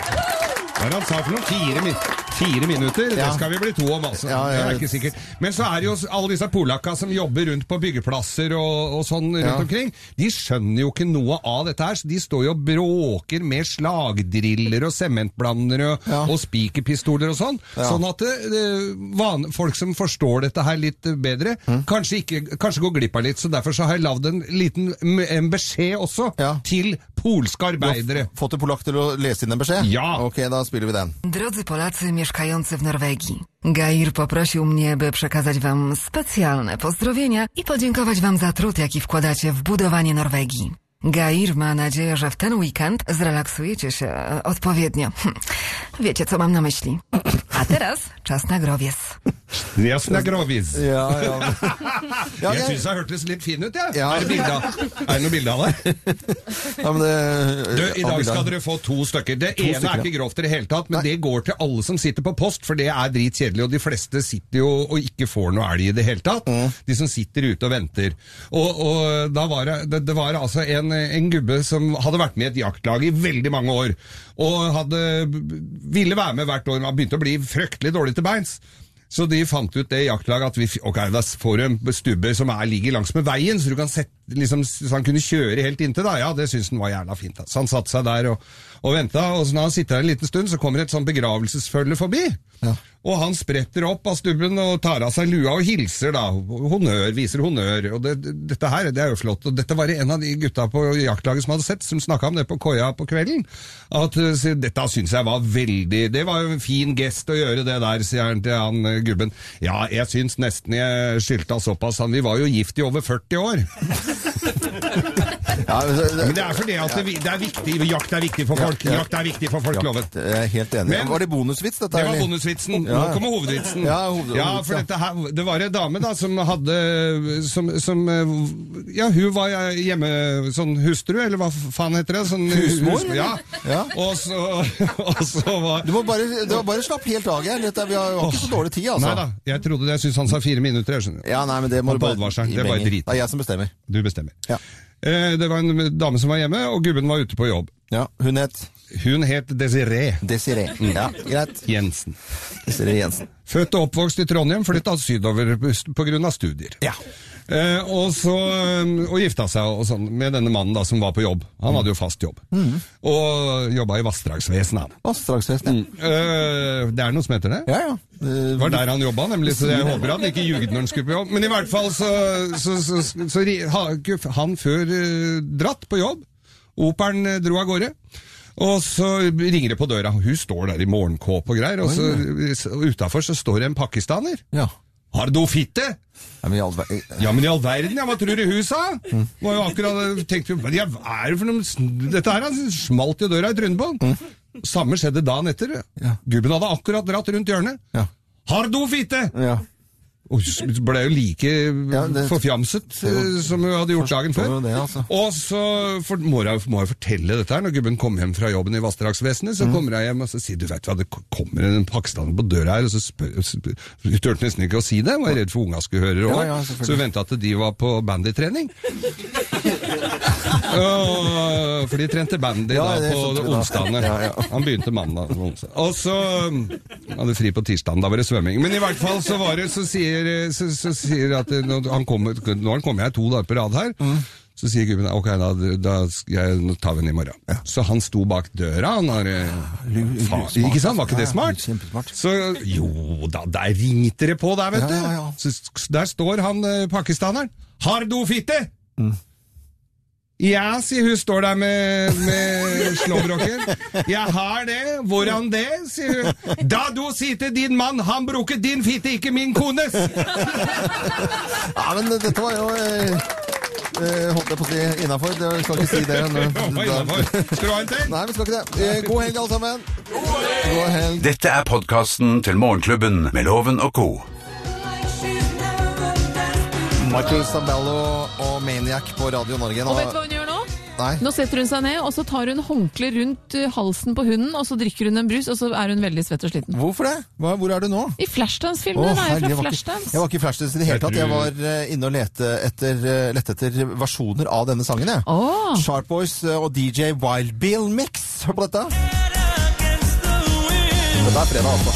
[SPEAKER 4] Hva er det han sa for noe? Fire, min fire minutter? Det
[SPEAKER 2] Ja.
[SPEAKER 4] skal vi bli to om, altså.
[SPEAKER 2] Ja, ja,
[SPEAKER 4] det er
[SPEAKER 2] ja.
[SPEAKER 4] ikke sikkert. Men så er det jo s- alle disse polakka som jobber rundt på byggeplasser og, og sånn rundt
[SPEAKER 2] Ja.
[SPEAKER 4] omkring. De skjønner jo ikke noe av dette her, så de står jo og bråker med slagdriller og sementblandere og,
[SPEAKER 2] Ja.
[SPEAKER 4] og spikerpistoler og sånn.
[SPEAKER 2] Ja.
[SPEAKER 4] Sånn at eh, van, folk som forstår dette her litt eh, bedre,
[SPEAKER 2] Mm.
[SPEAKER 4] kanskje, ikke, kanskje går glipp av litt. Så derfor så har jeg lagd en liten m- en beskjed også
[SPEAKER 2] Ja.
[SPEAKER 4] til polske arbeidere.
[SPEAKER 2] Fått en polakk til å lese inn en beskjed?
[SPEAKER 4] Ja.
[SPEAKER 2] Ok, da spiller
[SPEAKER 4] *laughs*
[SPEAKER 2] vi den.
[SPEAKER 12] Drodzy Polacy mieszkający w Norwegii, Gair poprosił mnie, by przekazać Wam specjalne pozdrowienia i podziękować Wam za trud, jaki wkładacie w budowanie Norwegii. Gair ma nadzieję, że w ten weekend zrelaksujecie się e, odpowiednio. Hm, Wiecie, co mam na myśli. A teraz czas na growiec.
[SPEAKER 4] Jasna grovis.
[SPEAKER 2] Ja, ja. ja,
[SPEAKER 4] jeg
[SPEAKER 2] ok.
[SPEAKER 4] syns det hørtes litt fin ut, jeg.
[SPEAKER 2] Ja.
[SPEAKER 4] Er, det bilde av- er det noe bilde av
[SPEAKER 2] *laughs*
[SPEAKER 4] det?
[SPEAKER 2] *laughs* ja men det,
[SPEAKER 4] Du, I dag skal dere få to stykker. Det ene
[SPEAKER 2] stykker,
[SPEAKER 4] er ikke grovt i det hele tatt, men det går til alle som sitter på post, for det er dritkjedelig, og de fleste sitter jo og ikke får noe elg i det hele tatt.
[SPEAKER 2] Mm.
[SPEAKER 4] De som sitter ute og venter. Og, og da var det, det, det var altså en, en gubbe som hadde vært med i et jaktlag i veldig mange år, og hadde, ville være med hvert år, men han begynte å bli fryktelig dårlig til beins. Så de fant ut det i jaktlaget at vi, f- ok, da får du en stubbe som er, ligger langsmed veien, så, du kan sette, liksom, så han kunne kjøre helt inntil. da. Ja, det syntes han var jævla fint. Da. Så han satte seg der og, og venta, og så når han sitter der en liten stund, så kommer et sånn begravelsesfølge forbi. Og han spretter opp av stubben og tar av seg lua og hilser, da. Honnør, viser honnør. Og det, det- dette her, det er jo flott. Og dette var det en av de gutta på jaktlaget som hadde sett, som snakka om det på koia på kvelden. At eh, sier, dette syns jeg var veldig Det var jo en fin gest å gjøre det der, sier han til han eh, gubben. Ja, jeg syns nesten jeg skyldte han såpass, han. Vi var jo gift i over 40 år.
[SPEAKER 2] Ja, men det-
[SPEAKER 4] Men det er fordi at det, vi- det er viktig. Jakt er viktig for
[SPEAKER 2] Ja,
[SPEAKER 4] folk.
[SPEAKER 2] ja.
[SPEAKER 4] Jakt er viktig for folk, loven.
[SPEAKER 2] Ja, jeg er helt enig.
[SPEAKER 4] Men-
[SPEAKER 2] var det bonusvits, dette?
[SPEAKER 4] Det var
[SPEAKER 2] eller?
[SPEAKER 4] bonusvitsen. Nå
[SPEAKER 2] Ja.
[SPEAKER 4] kommer hovedvitsen.
[SPEAKER 2] Ja, hoved-
[SPEAKER 4] Ja, for
[SPEAKER 2] ja.
[SPEAKER 4] dette her, det var ei dame da som hadde som, som Ja, hun var eh, hjemme sånn hustru, eller hva faen heter det? Sånn,
[SPEAKER 2] Husmor,
[SPEAKER 4] hus-
[SPEAKER 2] eller?
[SPEAKER 4] Ja.
[SPEAKER 2] Ja.
[SPEAKER 4] Og, så, *laughs* og så var
[SPEAKER 2] Du må bare, du må bare slappe helt av, Geir. Dette- Vi har jo ikke så dårlig tid, altså.
[SPEAKER 4] Nei da, jeg trodde det. Jeg syns han sa fire minutter, jeg skjønner.
[SPEAKER 2] Ja, nei, men det må
[SPEAKER 4] Han
[SPEAKER 2] du bare
[SPEAKER 4] advarselen, det er bare
[SPEAKER 2] Benny.
[SPEAKER 4] drit.
[SPEAKER 2] Det er jeg som bestemmer.
[SPEAKER 4] Du bestemmer.
[SPEAKER 2] Ja.
[SPEAKER 4] Eh, Det var en dame som var hjemme, og gubben var ute på jobb.
[SPEAKER 2] Ja, Hun het?
[SPEAKER 4] Hun het Desiree.
[SPEAKER 2] Desiree,
[SPEAKER 4] Mm.
[SPEAKER 2] ja, greit.
[SPEAKER 4] Jensen.
[SPEAKER 2] Desiree Jensen.
[SPEAKER 4] Født og oppvokst i Trondheim, flytta sydover pga. studier. Eh, og, så, eh, og gifta seg og sånn, med denne mannen da, som var på jobb. Han hadde jo fast jobb.
[SPEAKER 2] Mm.
[SPEAKER 4] Og jobba i vassdragsvesenet. han.
[SPEAKER 2] Vassdragsfest, ja.
[SPEAKER 4] Eh, det er noe som heter det?
[SPEAKER 2] Ja, ja.
[SPEAKER 4] Det var der han jobba, nemlig, så jeg håper han ikke ljugde når han skulle på jobb. Men i hvert fall så, så, så, så, ri- ha- han før eh, dratt på jobb. Operen eh, dro av gårde. Og så ringer det på døra. Hun står der i morgenkåpe og greier, og så utafor så står det en pakistaner.
[SPEAKER 2] Ja.
[SPEAKER 4] Har du fitte?
[SPEAKER 2] Ja, men i eh, all ver-
[SPEAKER 4] Ja, men i all verden, ja, hva tror du hun sa? Var jo akkurat, tenkte, hva ja, hva er det for noe, sn- dette her, han smalt jo døra i trynet på han. Samme skjedde dagen etter. Gubben hadde akkurat dratt rundt hjørnet. Har du fitte?
[SPEAKER 2] Ja.
[SPEAKER 4] Og så ble jo like
[SPEAKER 2] det-
[SPEAKER 4] forfjamset
[SPEAKER 2] jo-
[SPEAKER 4] eh, som hun hadde gjort dagen før.
[SPEAKER 2] jo det, altså.
[SPEAKER 4] Og så for, må jeg må jeg fortelle dette her, når gubben kom hjem fra jobben i vassdragsvesenet,
[SPEAKER 2] Mm.
[SPEAKER 4] så kommer jeg hjem og så sier du vet hva, det kommer en pakistaner på døra her, og så spør, spør Hun turte nesten ikke å si det, var redd for unga skulle høre det også.
[SPEAKER 2] Ja, ja, selvfølgelig.
[SPEAKER 4] så hun venta til de var på bandytrening. Åh, for de trente bandy
[SPEAKER 2] Ja,
[SPEAKER 4] da
[SPEAKER 2] det
[SPEAKER 4] på
[SPEAKER 2] skjønte vi da.
[SPEAKER 4] onsdagene.
[SPEAKER 2] Ja, ja.
[SPEAKER 4] Han begynte mandag og onsdag. Og så um, hadde fri på tirsdagen, da var det svømming. Men i hvert fall så var det, så sier, så, så sier at eh, nå- han kommer, nå har han kommet her to dager på rad her.
[SPEAKER 2] Mm.
[SPEAKER 4] Så sier gubben ok, da, da skal jeg, nå tar vi den i morgen. Så han sto bak døra. Han har, eh, faen,
[SPEAKER 2] smart,
[SPEAKER 4] ikke sant, var ikke
[SPEAKER 2] altså.
[SPEAKER 4] det
[SPEAKER 2] Ja, ja,
[SPEAKER 4] smart? Så jo da, der ringte det på der, vet
[SPEAKER 2] Ja,
[SPEAKER 4] du.
[SPEAKER 2] ja, ja.
[SPEAKER 4] Så, s- der står han eh, pakistaneren. Har du fitte?
[SPEAKER 2] Mm.
[SPEAKER 4] Ja, sier hun, står der med, med *laughs* slåbroken. Jeg har det. Hvordan det? sier hun. Da du sier til din mann, han bruker din fitte, ikke min kones!
[SPEAKER 2] *laughs* Ja, men dette var jo eh, eh, Holdt jeg på å si innafor. Jeg skal ikke si det.
[SPEAKER 4] *laughs*
[SPEAKER 2] men-
[SPEAKER 4] Skal du ha en til?
[SPEAKER 2] Nei, vi skal ikke det. Eh, God helg, alle sammen. God helg.
[SPEAKER 1] Dette er podkasten til Morgenklubben med Loven og co.
[SPEAKER 2] Michael Stabello og Maniac på Radio Norge.
[SPEAKER 3] Og vet du hva hun gjør nå?
[SPEAKER 2] Nei.
[SPEAKER 3] Nå setter hun seg ned, og så tar hun håndkle rundt eh, halsen på hunden, og så drikker hun en brus, og så er hun veldig svett og sliten.
[SPEAKER 2] Hvorfor det? Hva, hvor er du nå?
[SPEAKER 3] I Flashdance-filmen,
[SPEAKER 2] Å,
[SPEAKER 3] hun er
[SPEAKER 2] herre,
[SPEAKER 3] jo fra
[SPEAKER 2] jeg var ikke-
[SPEAKER 3] Flashdance.
[SPEAKER 2] Jeg var ikke i Flashdance i det hele
[SPEAKER 4] Jeg
[SPEAKER 2] tatt. Jeg
[SPEAKER 4] tror-
[SPEAKER 2] var eh, inne og lette etter, eh, lette etter versjoner av denne sangen. Jeg. Sharp Boys eh, og DJ Wild Bill Mix. Hør på dette. Dette er fredag, altså.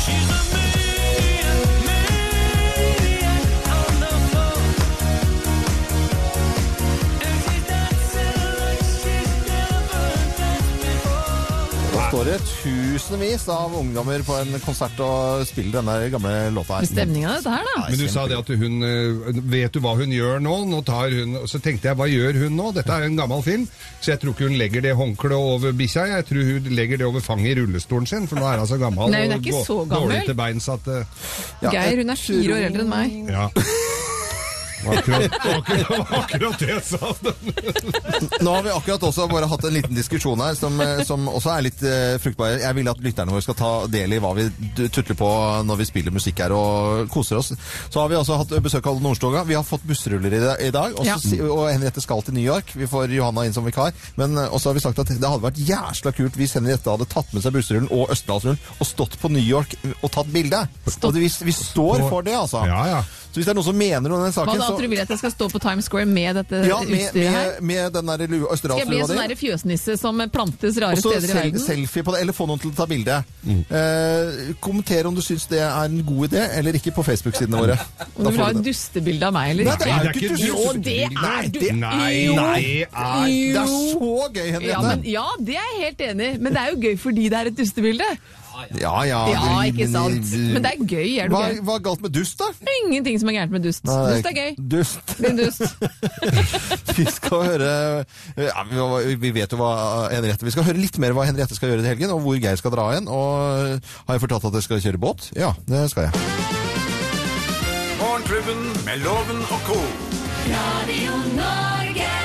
[SPEAKER 2] Da står det tusenvis av ungdommer på en konsert og spiller denne gamle låta her.
[SPEAKER 3] Med stemninga dette her, da.
[SPEAKER 4] Men du sa det at hun eh, Vet du hva hun gjør nå? nå tar hun, og så tenkte jeg, hva gjør hun nå? Dette er en gammel film, så jeg tror ikke hun legger det håndkleet over bikkja. Jeg tror hun legger det over fanget i rullestolen sin, for nå er hun så gammel
[SPEAKER 3] Nei, hun er
[SPEAKER 4] og
[SPEAKER 3] ikke
[SPEAKER 4] gå-
[SPEAKER 3] så gammel.
[SPEAKER 4] dårlig til beins at eh,
[SPEAKER 2] Ja,
[SPEAKER 3] Geir, hun er fire år eldre enn meg.
[SPEAKER 4] Ja. Var Akkurat, akkurat, akkurat det jeg sa.
[SPEAKER 2] Nå har vi akkurat også bare hatt en liten diskusjon her som, eh, som også er litt eh, fruktbar. Jeg vil at lytterne våre skal ta del i hva vi d- tutler på når vi spiller musikk her og koser oss. Så har vi også hatt besøk av Alle Nordstoga. Vi har fått bussruller i, da- i dag. Og,
[SPEAKER 3] Ja.
[SPEAKER 2] og Henriette skal til New York. Vi får Johanna inn som vikar. Men eh, også har vi sagt at det hadde vært jæsla kult hvis Henriette hadde tatt med seg bussrullen og Østerdalsrullen og stått på New York eh, og tatt bilde. Og det, vi, vi står for det, altså.
[SPEAKER 4] Ja, ja.
[SPEAKER 2] Så hvis det er noen som mener noe om den
[SPEAKER 3] Hva
[SPEAKER 2] saken,
[SPEAKER 3] da,
[SPEAKER 2] så
[SPEAKER 3] tror du vil at jeg skal stå på Times Square med dette
[SPEAKER 2] ja, med,
[SPEAKER 3] utstyret her?
[SPEAKER 2] med, med den der lue-
[SPEAKER 3] Skal jeg bli
[SPEAKER 2] Østerdalslua
[SPEAKER 3] en sånn der fjøsnisse som plantes rare
[SPEAKER 2] Og så
[SPEAKER 3] steder i
[SPEAKER 2] sel-
[SPEAKER 3] verden?
[SPEAKER 2] selfie på det, eller få noen til å ta bilde. Eh, kommenter om du syns det er en god idé eller ikke på
[SPEAKER 3] *laughs*
[SPEAKER 2] Facebook-sidene våre.
[SPEAKER 3] Om du
[SPEAKER 2] Da
[SPEAKER 3] vil ha
[SPEAKER 2] får
[SPEAKER 3] et
[SPEAKER 2] du det.
[SPEAKER 3] dustebilde av meg,
[SPEAKER 2] Nei,
[SPEAKER 3] eller?
[SPEAKER 2] det er jo ikke
[SPEAKER 4] Nei, det er ikke
[SPEAKER 2] tusen-
[SPEAKER 3] Jo, det er du!
[SPEAKER 4] Nei,
[SPEAKER 3] Jo.
[SPEAKER 4] nei, det er
[SPEAKER 2] Det er
[SPEAKER 3] Jo.
[SPEAKER 2] så gøy, Henriette!
[SPEAKER 3] Ja, men, ja, det er jeg helt enig i. Men det er jo gøy fordi det er et dustebilde.
[SPEAKER 2] ja, ja,
[SPEAKER 3] Ja,
[SPEAKER 2] du-
[SPEAKER 3] ikke sant? Men det er gøy, er du
[SPEAKER 2] hva,
[SPEAKER 3] gøy?
[SPEAKER 2] hva er galt med dust, da?
[SPEAKER 3] Det er ingenting som er gærent med dust.
[SPEAKER 2] Nei,
[SPEAKER 3] Dust er gøy.
[SPEAKER 2] Dust. *laughs*
[SPEAKER 3] Din dust.
[SPEAKER 2] Vi skal høre ja, vi- Vi vet jo hva Henriette Vi skal høre litt mer hva Henriette skal gjøre til helgen, og hvor Geir skal dra igjen. Og har jeg fortalt at jeg skal kjøre båt? Ja, det skal jeg.
[SPEAKER 1] Morgenklubben med Loven og co.
[SPEAKER 10] Radio Norge